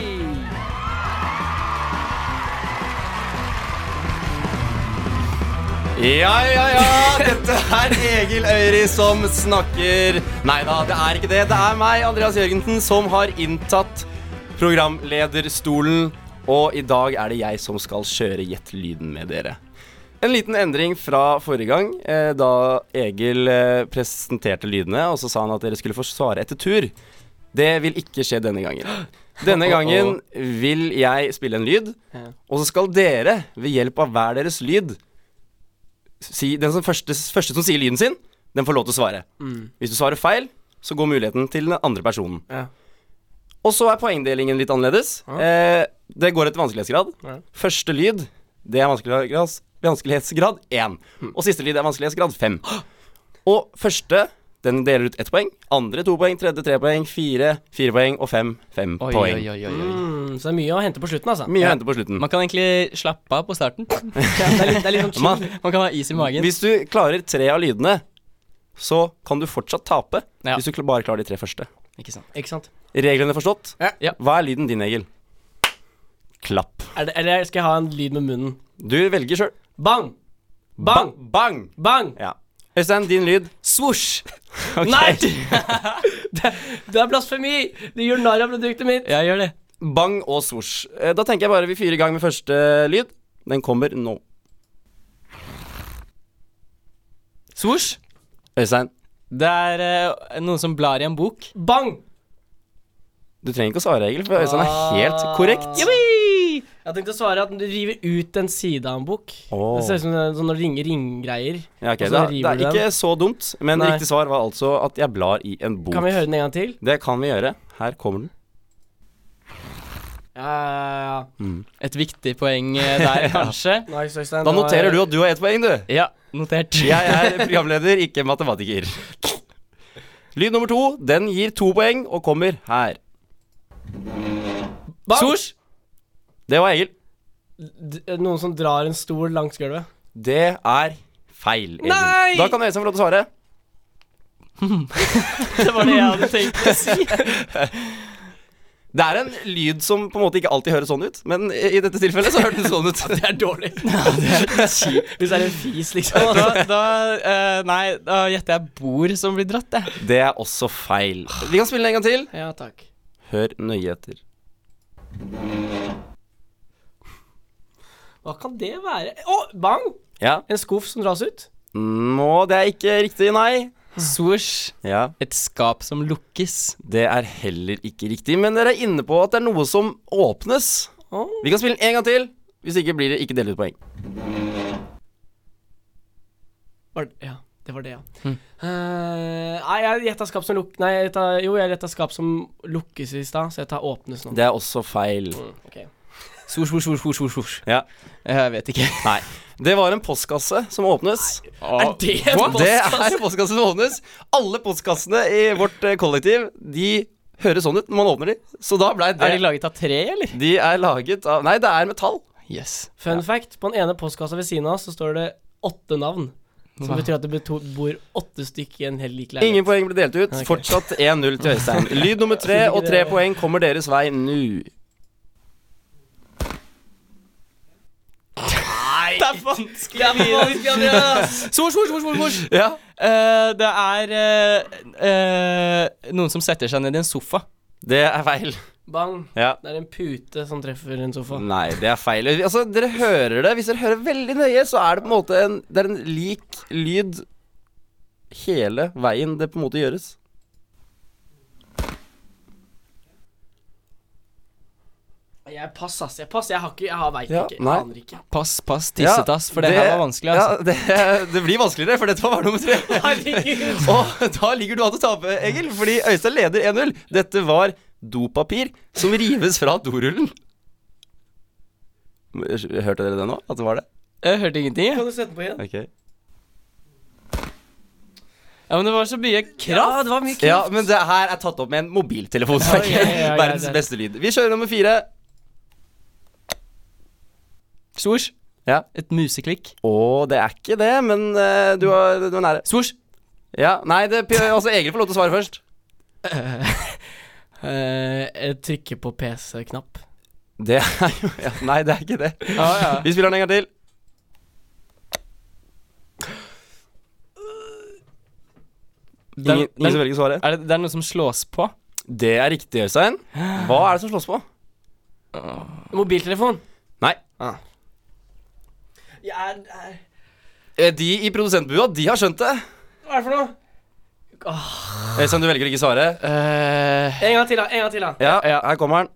S2: Ja, ja, ja. Dette er Egil Øyri som snakker. Nei da, det er ikke det. Det er meg, Andreas Jørgensen, som har inntatt programlederstolen. Og i dag er det jeg som skal kjøre Gjett lyden med dere. En liten endring fra forrige gang, eh, da Egil eh, presenterte lydene, og så sa han at dere skulle få svare etter tur. Det vil ikke skje denne gangen. Denne gangen vil jeg spille en lyd, og så skal dere, ved hjelp av hver deres lyd, si, den som første, første som sier lyden sin, den får lov til å svare.
S3: Mm.
S2: Hvis du svarer feil, så går muligheten til den andre personen.
S1: Ja.
S2: Og så er poengdelingen litt annerledes. Eh, det går etter vanskelighetsgrad.
S1: Ja.
S2: Første lyd, det er vanskelighetsgrad, vanskelighetsgrad 1.
S3: Mm.
S2: Og siste lyd er vanskelighetsgrad 5. Og første, den deler ut ett poeng. Andre to poeng, tredje tre poeng, fire fire poeng og fem fem
S3: Oi, oi,
S2: poeng.
S3: oi, oi, oi.
S1: Mm, så det er mye å hente på slutten, altså.
S2: Mye å hente på slutten.
S3: Man kan egentlig slappe av på starten. Det er litt, det er litt
S1: liksom-
S3: sånn
S2: Man-
S3: chill. Man kan ha is i magen.
S2: Hvis du klarer tre av lydene, så kan du fortsatt tape.
S3: Ja.
S2: Hvis du kl- bare klarer de tre første.
S3: Ikke sant.
S1: Ikke sant?
S2: Reglene forstått?
S3: Ja.
S2: Hva er lyden din, Egil? Klapp.
S1: Er det, eller skal jeg ha en lyd med munnen?
S2: Du velger sjøl.
S1: Bang! Bang!
S2: Bang!
S1: Bang!
S2: Ja. Øystein, din lyd.
S3: Svosj!
S1: Nei! det, det er blasfemi! Du gjør narr av produktet mitt.
S3: Jeg gjør det.
S2: Bang og svosj. Eh, Da tenker jeg bare vi fyrer i gang med første lyd. Den kommer nå.
S3: Svosj.
S2: Øystein,
S3: Det er eh, noen som blar i en bok.
S1: Bang!
S3: Ah.
S2: du trenger ikke å svare, Egil, for Øystein er helt korrekt.
S3: Yippee!
S1: Jeg tenkte å svare at du river ut en side av en bok.
S2: Åh.
S1: Det ser ut som det er sånn når det ringer ringgreier.
S2: Ja, ok,
S1: Og så
S2: det, er,
S1: river
S2: det
S1: du
S2: er ikke så dumt, men
S1: Nei.
S2: riktig svar var altså at jeg blar i en bok.
S1: Kan vi høre den en gang til?
S2: Det kan vi gjøre. Her kommer den.
S1: Ja, ja, ja.
S3: Et viktig poeng eh, der, kanskje.
S1: Nice, Øystein.
S2: Da noterer du at du har ett poeng, du.
S3: Ja, notert.
S2: Jeg er programleder, ikke matematiker. Lyd nummer to, den gir to poeng og kommer her.
S3: Sors!
S2: Det var Egil.
S1: D- eh, Noen som drar en stol langs gulvet.
S2: Det er feil, Egil.
S1: Nei!
S2: Da kan Øystein få lov til å svare.
S3: Det var det jeg hadde tenkt å si.
S2: Det er en lyd som på en måte ikke alltid høres sånn ut, men i i dette tilfellet så hørtes den sånn ut.
S1: Det er dårlig. Hvis det er en fis, liksom.
S3: Da, da eh, Nei, da gjetter jeg bord som blir dratt, jeg.
S2: Det er også feil. Vi kan spille den en gang til.
S1: Ja, takk.
S2: Hør nøye etter.
S1: Hva kan det være? Å, bang!
S2: Ja.
S1: En skuff som dras ut.
S2: Nå, det er ikke riktig, nei.
S3: Sors.
S2: Ja.
S3: Et skap som lukkes.
S2: Det er heller ikke riktig, men dere er inne på at det er noe som åpnes.
S1: Åh.
S2: Vi kan spille den en gang til. Hvis ikke blir det ikke delt ut poeng.
S1: Var det, ja, det var det, ja.
S2: Hm.
S1: Eh, nei, jeg gjetta skap som lukk... Nei, jeg gjetta- jo, jeg gjetta skap som lukkes i stad, så jeg tar åpnes nå.
S2: Det er også feil.
S1: Ok.
S3: Sors, sors, sors, sors, sors, sors.
S2: Ja.
S3: Jeg vet ikke.
S2: Nei. Det var en postkasse som åpnes.
S1: Er det en
S2: What?
S1: post?
S2: Det er postkassen som åpnes. Alle postkassene i vårt eh, kollektiv, de høres sånn ut når man åpner de. Så da blei det
S3: Er de laget av tre, eller?
S2: De er laget av Nei, det er metall.
S3: Yes.
S1: Fun fact, på den ene postkassa ved siden av oss så står det åtte navn. Som
S3: Wow.
S1: betyr at det beto- bor åtte stykk i en helt lik leilighet.
S2: Ingen poeng ble delt ut.
S1: Ok.
S2: Fortsatt 1-0 til Øystein. Lyd nummer tre og tre poeng kommer deres vei nå.
S3: Det er vanskelig. Det er vanskelig sors, sors, sors, sors, sors.
S2: Ja.
S3: Eh, det er eh, eh, noen som setter seg ned i en sofa.
S2: Det er feil.
S1: Bang.
S2: Ja.
S1: Det er en pute som treffer en sofa.
S2: Nei, det er feil. Altså, dere hører det. Hvis dere hører veldig nøye, så er det på en måte en Det er en lik lyd hele veien det på en måte gjøres.
S1: Jeg pass, ass. Jeg pass. Jeg har ikke Jeg har veit
S2: Ja,
S1: ikke.
S2: nei.
S1: Jeg aner ikke.
S3: Pass, pass, tissetass, for det, her var vanskelig, altså.
S2: Ja, det, det blir vanskeligere, for dette var nummer tre.
S1: Herregud.
S2: Og da ligger du an til å tape, Egil, fordi Øystein leder 1-0. Dette var dopapir som rives fra dorullen. Hørte dere det nå? At det var det?
S3: Jeg hørte ingenting, jeg.
S1: Kan du sette på igjen?
S2: Ok
S3: Ja, men det var så mye kraft.
S1: Ja, det var mye kult.
S2: Ja, men det her er tatt opp med en mobiltelefon. så det er
S1: Ja, ja, ja, ja,
S2: ikke Verdens
S1: det er-
S2: beste lyd. Vi kjører nummer fire.
S3: Sors.
S2: Ja.
S3: Et museklikk.
S2: Å, det er ikke det, men eh, du, var, du var nære.
S3: Sors.
S2: Ja, Nei, det, altså, Egil får lov til å svare først.
S1: Eh, jeg trykker på PC-knapp.
S2: Det er jo ja, Nei, det er ikke det.
S3: Ja, ja.
S2: Vi spiller den en gang til. Ingen,
S3: Den-
S2: ingen som velger svaret?
S3: Er det, det er noe som slås på.
S2: Det er riktig, Øystein. Hva er det som slås på?
S1: Mobiltelefon.
S2: Nei.
S1: Jeg er, er
S2: Eh, De i produsentbua, de har skjønt det.
S1: Hva er det for noe?
S2: Øystein, du velger ikke svare.
S3: Eh,
S1: En gang til, da. En gang til, da.
S2: Ja, her kommer den.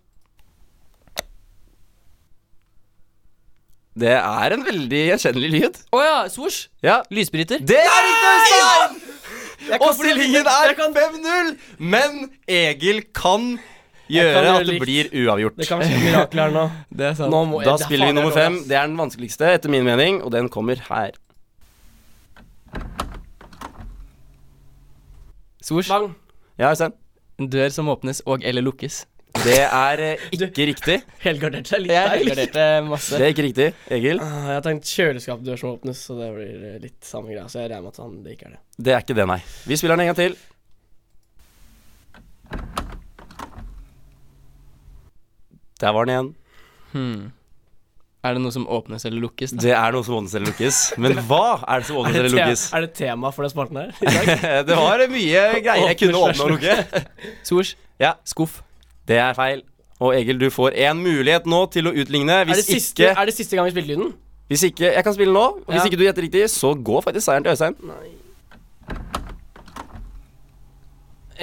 S2: Det er en veldig gjenkjennelig lyd.
S3: Å ja, sors.
S2: Ja.
S3: Lysbryter.
S2: Det er riktig, Øystein! Og
S1: kan-
S2: stillingen er 5-0. Men Egil kan gjøre
S1: gjøre
S2: at det
S1: likt.
S2: blir uavgjort.
S1: Det kan skje et mirakel her nå.
S3: Det er sant.
S1: nå må jeg,
S2: Da
S1: det er
S2: spiller vi
S1: faen, jeg
S2: nummer
S1: er dårlig,
S2: fem.
S1: ass.
S2: Det er den vanskeligste, etter min mening, og den kommer her.
S3: Sors.
S1: Bang.
S2: Ja, Øystein.
S3: En dør som åpnes og eller lukkes.
S2: Det er eh, ikke riktig.
S1: Helgardert seg litt
S3: Jeg
S1: der.
S3: helgarderte masse.
S2: Det er ikke riktig, Egil.
S1: Ah, Jeg har tenkt kjøleskapdør som åpnes, så det blir eh, litt samme greia. Så jeg regner med at han, det ikke er det.
S2: Det er ikke det, nei. Vi spiller den en gang til. Der var den igjen.
S3: Er det noe som åpnes eller lukkes? Da?
S2: Det er noe som åpnes eller lukkes. Men hva er det som åpnes eller
S1: te-
S2: lukkes?
S1: er det tema for den spalten her?
S2: Det var mye greier jeg kunne
S1: Åpnes
S2: åpne og lukke.
S3: Sors.
S2: Ja.
S3: Skuff.
S2: Det er feil. Og Egil, du får én mulighet nå til å utligne.
S1: Er det,
S2: Hvis
S1: siste,
S2: ikke,
S1: er det siste gang vi spilte lyden?
S2: hvis ikke Jeg kan spille nå. Og hvis
S1: Ja.
S2: ikke du gjetter riktig, så går faktisk seieren til Øystein.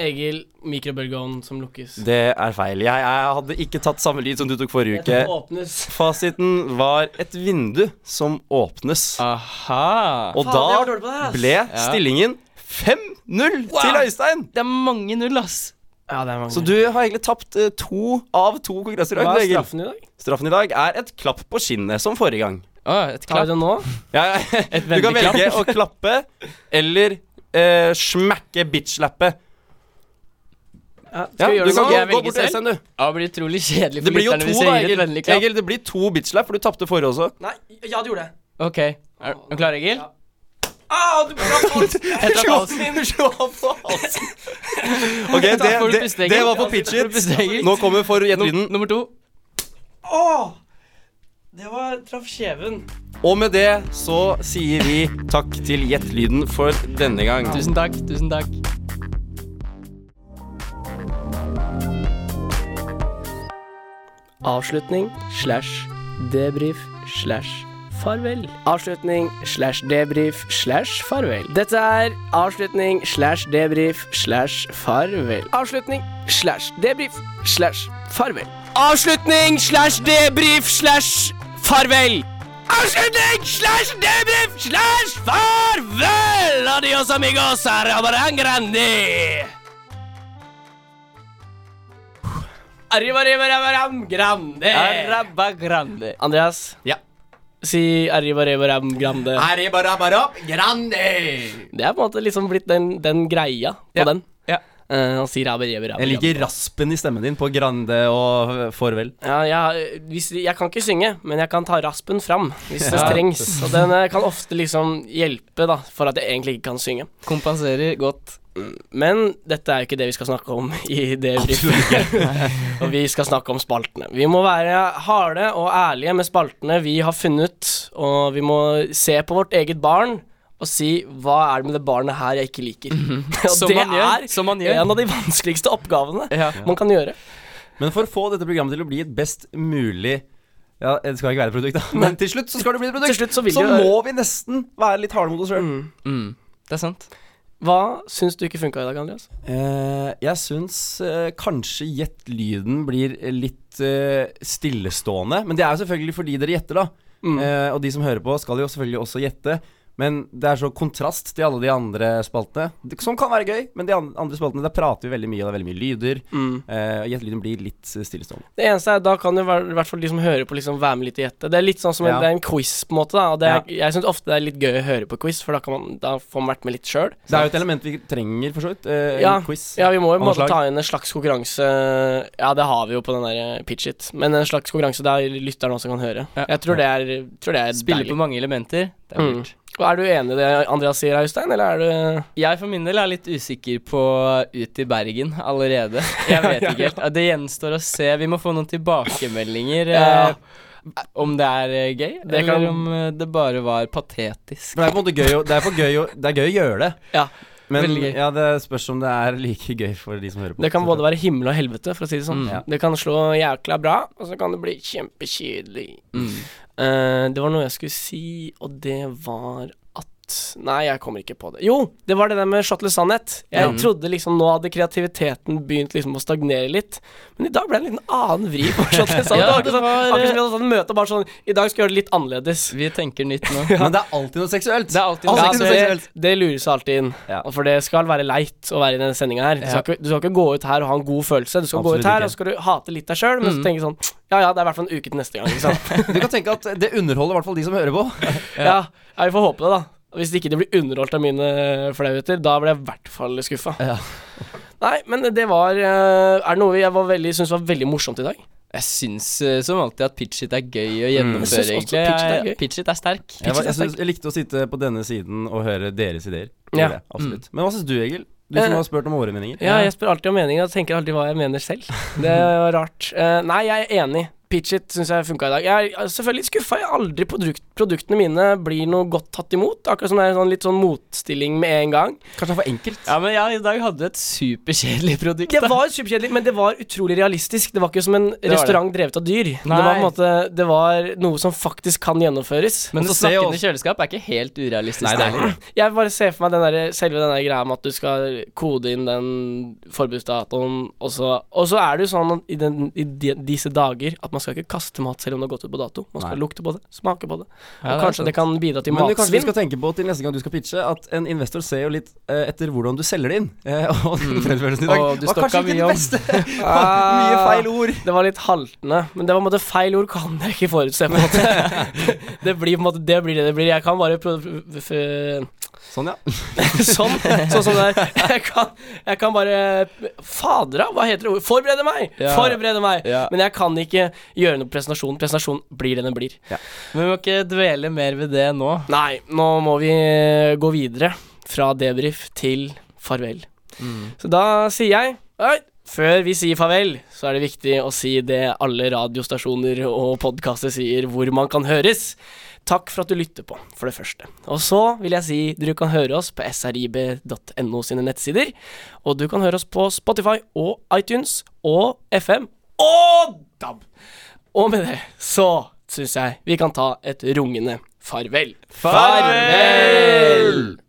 S1: Egil, mikrobølgeovn som lukkes.
S2: Det er feil. Jeg, jeg hadde ikke tatt samme lyd som du tok forrige
S1: Dette
S2: uke.
S1: åpnes.
S2: Fasiten var et vindu som åpnes.
S3: Aha.
S2: Og
S1: Faen, jeg var dårlig på det
S2: da
S1: her, ass.
S2: ble stillingen 5-0 til Øystein.
S3: Det er mange null, ass.
S1: Ja, det er mange.
S2: Så du har egentlig tapt eh, to av to kongresser i
S1: Hva
S2: dag.
S1: er
S2: Egil.
S1: straffen i dag?
S2: Straffen i dag er et klapp på skinnet, som forrige gang.
S3: Å, et
S1: Tar
S3: klapp.
S1: vi det nå?
S2: Ja, ja. Du kan
S3: venneklapp.
S2: velge å klappe eller eh, smekke bitch-lappe. Ja,
S1: Ja, skal vi
S2: du
S1: gjøre det
S2: kan
S1: nå?
S2: gå, gå
S3: Jeg velger
S2: bort til
S3: selv.
S2: Øystein, du.
S3: Ja, det blir utrolig kjedelig
S2: Det
S3: for
S2: blir jo
S3: lytterne
S2: to,
S3: hvis jeg
S2: da,
S3: gir et
S2: Egil.
S3: vennlig klapp.
S2: Egil. Det blir to bitch-lapp, for du tapte forrige også.
S1: Nei, ja, du gjorde det.
S3: Ok, er er du klar, Egil?
S1: Ja. Ah, du traff halsen!
S3: Jeg traff halsen.
S2: Ok, det,
S3: Takk for
S2: det,
S3: pusteegel.
S2: det var på pitch
S3: Takk for pusteegel.
S2: it. Nå kommer for å gjette
S3: Num-
S2: lyden.
S3: Nummer to.
S1: Åh! Det var traff kjeven.
S2: Og med det så sier vi takk til Gjett lyden for denne gang.
S3: Tusen takk, tusen takk.
S1: Avslutning slash debrief slash farvel. Avslutning slash debrief slash farvel. Dette er avslutning slash debrief slash farvel. Avslutning slash debrief slash farvel. Avslutning slash debrief slash farvel. Avslutning slash debrief slash farvel. Adios amigos, arabarang grandi. Arrivarivaram grande.
S3: Araba grande.
S1: Andreas,
S2: Ja.
S1: si arrivarevaram grande. Det er på en måte liksom blitt den, den greia på
S3: Ja,
S1: den.
S3: ja.
S1: Eh, han sier arrivarevaram
S2: Jeg liker raspen i stemmen din på Grande og eh, Forvel.
S1: ja, jeg, hvis, jeg kan ikke synge, men jeg kan ta raspen fram hvis det trengs. Og den eh, kan ofte liksom hjelpe da, for at jeg egentlig ikke kan synge.
S3: Kompenserer godt.
S1: Men dette er jo ikke det vi skal snakke om i det briefet. og vi skal snakke om spaltene. Vi må være harde og ærlige med spaltene vi har funnet, og vi må se på vårt eget barn og si 'hva er det med det barnet her jeg ikke liker'? og
S3: Mhm. Som
S1: det
S3: man gjør,
S1: er
S3: som man gjør.
S1: en av de vanskeligste oppgavene
S3: Ja.
S1: man kan gjøre.
S2: Men for å få dette programmet til å bli et best mulig Ja, det skal ikke være et produkt, da, men til slutt så skal det bli et produkt.
S1: Til slutt så vil det være-
S2: må vi nesten være litt harde mot oss sjøl.
S3: Mm, det er sant.
S1: Hva syns du ikke funka i dag, Andreas?
S2: Eh, jeg syns eh, kanskje gjett lyden blir litt eh, stillestående. Men det er jo selvfølgelig fordi dere gjetter, da. Eh, og de som hører på, skal jo selvfølgelig også gjette. Men det er så kontrast til alle de andre spaltene. Det- Som kan være gøy, men de an- andre spaltene der prater vi veldig mye, og det er veldig mye lyder. Eh, og Gjett lyden blir litt eh, stillestående.
S1: Det eneste er, Da kan jo hver- i hvert fall de som hører på, liksom være med litt i gjette. Det er litt sånn som en,
S2: Ja.
S1: det er en quiz, på en måte. da Og det er, Jeg syns ofte det er litt gøy å høre på quiz, for da, kan man, da får man vært med litt sjøl.
S2: Det er jo et element vi trenger, for så vidt. Eh,
S1: Ja.
S2: En quiz.
S1: Ja, vi må jo
S2: Av
S1: på en
S2: noe slag.
S1: måte ta inn en slags konkurranse Ja, det har vi jo på den der eh, pitch it, men en slags konkurranse der lytteren også kan høre.
S3: Ja.
S1: Jeg tror det er, tror det er
S3: Spiller
S1: deilig.
S3: på mange elementer. Det er
S1: Mm.
S3: lurt.
S1: Og Er du enig i det Andreas sier, Øystein, eller er du
S3: Jeg for min del er litt usikker på Ut i Bergen allerede. Jeg vet ikke helt. Det gjenstår å se. Vi må få noen tilbakemeldinger.
S1: Ja.
S3: eh, Om det er eh, gøy,
S1: Det kan-
S3: eller om eh, det bare var patetisk.
S2: For det er på en måte gøy å, det er for gøy å, det er gøy å gjøre det.
S1: Ja,
S2: Men
S3: veldig gøy.
S2: ja, det spørs om det er like gøy for de som hører på.
S1: Det kan både være himmel og helvete, for å si det sånn.
S3: Mm.
S2: Ja.
S1: Det kan slå jækla bra, og så kan det bli kjempekjedelig.
S3: Mm.
S1: Eh, det var noe jeg skulle si, og det var at Nei, jeg kommer ikke på det. Jo, det var det der med shotless sannhet. Jeg
S3: Ja.
S1: trodde liksom nå hadde kreativiteten begynt liksom å stagnere litt, men i dag ble det en liten annen vri på shotless sannhet.
S3: Ja,
S1: det var akkurat
S3: det
S1: sånn-
S3: var,
S1: akkurat som
S3: eh,
S1: vi hadde sånn møte og bare sånn I dag skal vi gjøre det litt annerledes.
S3: Vi tenker nytt nå.
S2: Men det er alltid noe seksuelt.
S3: Det er alltid noe
S1: Ja,
S3: seksuelt.
S1: Altså, det, det lurer seg alltid inn,
S2: Ja.
S1: Og for det skal være leit å være i denne sendinga her. Du skal, ikke, du skal ikke gå ut her og ha en god følelse. Du skal
S2: Absolutt
S1: gå ut
S2: ikke.
S1: her,
S2: Mm.
S1: og så skal du hate litt deg sjøl, men så tenke sånn Ja ja, det er i hvert fall en uke til neste gang, liksom. ikke sant.
S2: Du kan tenke at det underholder i hvert fall de som hører på.
S1: ja. Ja, vi får håpe det, da. Hvis ikke det blir underholdt av mine flauheter, da blir jeg i hvert fall skuffa. Nei, men det var eh, Er det noe jeg var veldig, syns var veldig morsomt i dag?
S3: Jeg syns eh, som alltid at pitch it er gøy
S1: Mm.
S3: å
S1: Jeg
S3: gjennomføre,
S1: syns også pitch
S3: egentlig.
S1: it er
S3: Jeg-
S1: gøy.
S3: Pitch it er sterk.
S2: Jeg, var, jeg, synes, jeg likte å sitte på denne siden og høre deres ideer. Det
S1: Ja.
S2: gjorde jeg,
S3: Mm.
S2: absolutt. Men hva syns du, Egil? Du som
S1: Eh.
S2: har spurt om våre meninger.
S1: Ja, jeg spør alltid om meninger og tenker alltid hva jeg mener selv. Det var rart. Eh, nei, jeg er enig. Pitch it syns jeg funka i dag. Jeg er selvfølgelig litt skuffa. Jeg aldri produkt, produktene mine blir noe godt tatt imot. Akkurat som det er en sånn, litt sånn motstilling med en gang.
S2: Kanskje det er for enkelt?
S3: Ja, men jeg i dag hadde et superkjedelig produkt.
S1: Det
S3: da.
S1: var superkjedelig, men det var utrolig realistisk. Det var ikke som en
S3: det.
S1: restaurant drevet av dyr. Det
S3: Nei.
S1: var, på en måte, det var noe som faktisk kan gjennomføres.
S3: Men
S2: Og
S3: det
S2: så ser jeg
S3: snakkende kjøleskap er ikke helt urealistisk.
S2: Nei, det er ikke
S1: Jeg bare ser for meg den der, selve den der greia med at du skal kode inn den forbudsdatoen, og så, og så er det jo sånn at i, den, i de, disse dager at man skal ikke kaste mat selv om det har gått ut på dato. Man skal
S2: Nei.
S1: lukte på det, smake på det. Og
S3: Ja, det er
S1: kanskje det kan bidra til
S2: Men du, kanskje du
S1: matsvinn.
S2: skal tenke på til neste gang du skal pitche, at en investor ser jo litt eh, etter hvordan du selger det inn. Eh, og den fremførelsen i dag
S3: Og Mm. du
S2: var kanskje
S3: stokka
S2: ikke
S3: mye
S2: den
S3: om. Ah.
S2: beste. Ah, Mye feil ord.
S1: Det var litt haltende, men det var på en måte feil ord kan jeg ikke forutse. på en måte Det blir på en måte det blir det det blir. Jeg kan bare pro- f- f-
S2: Sånn, ja.
S1: Sånn, sånn som det er. Jeg kan, jeg kan bare Fadra, hva heter det? ordet? Forberede meg!
S3: Ja.
S1: Forberede meg!
S3: Ja.
S1: Men jeg kan ikke gjøre noe presentasjon. Presentasjon blir det den blir.
S3: Men vi må ikke dvele mer ved det nå.
S1: Nei, nå må vi gå videre fra debrief til farvel. Så da sier jeg Oi, før vi sier farvel, så er det viktig å si det alle radiostasjoner og podkaster sier hvor man kan høres. Takk for at du lytter på, for det første. Og så vil jeg si dere kan høre oss på srib.no sine nettsider. Og du kan høre oss på Spotify og iTunes og FM og DAB. Og med det så syns jeg vi kan ta et rungende farvel.
S3: Farvel!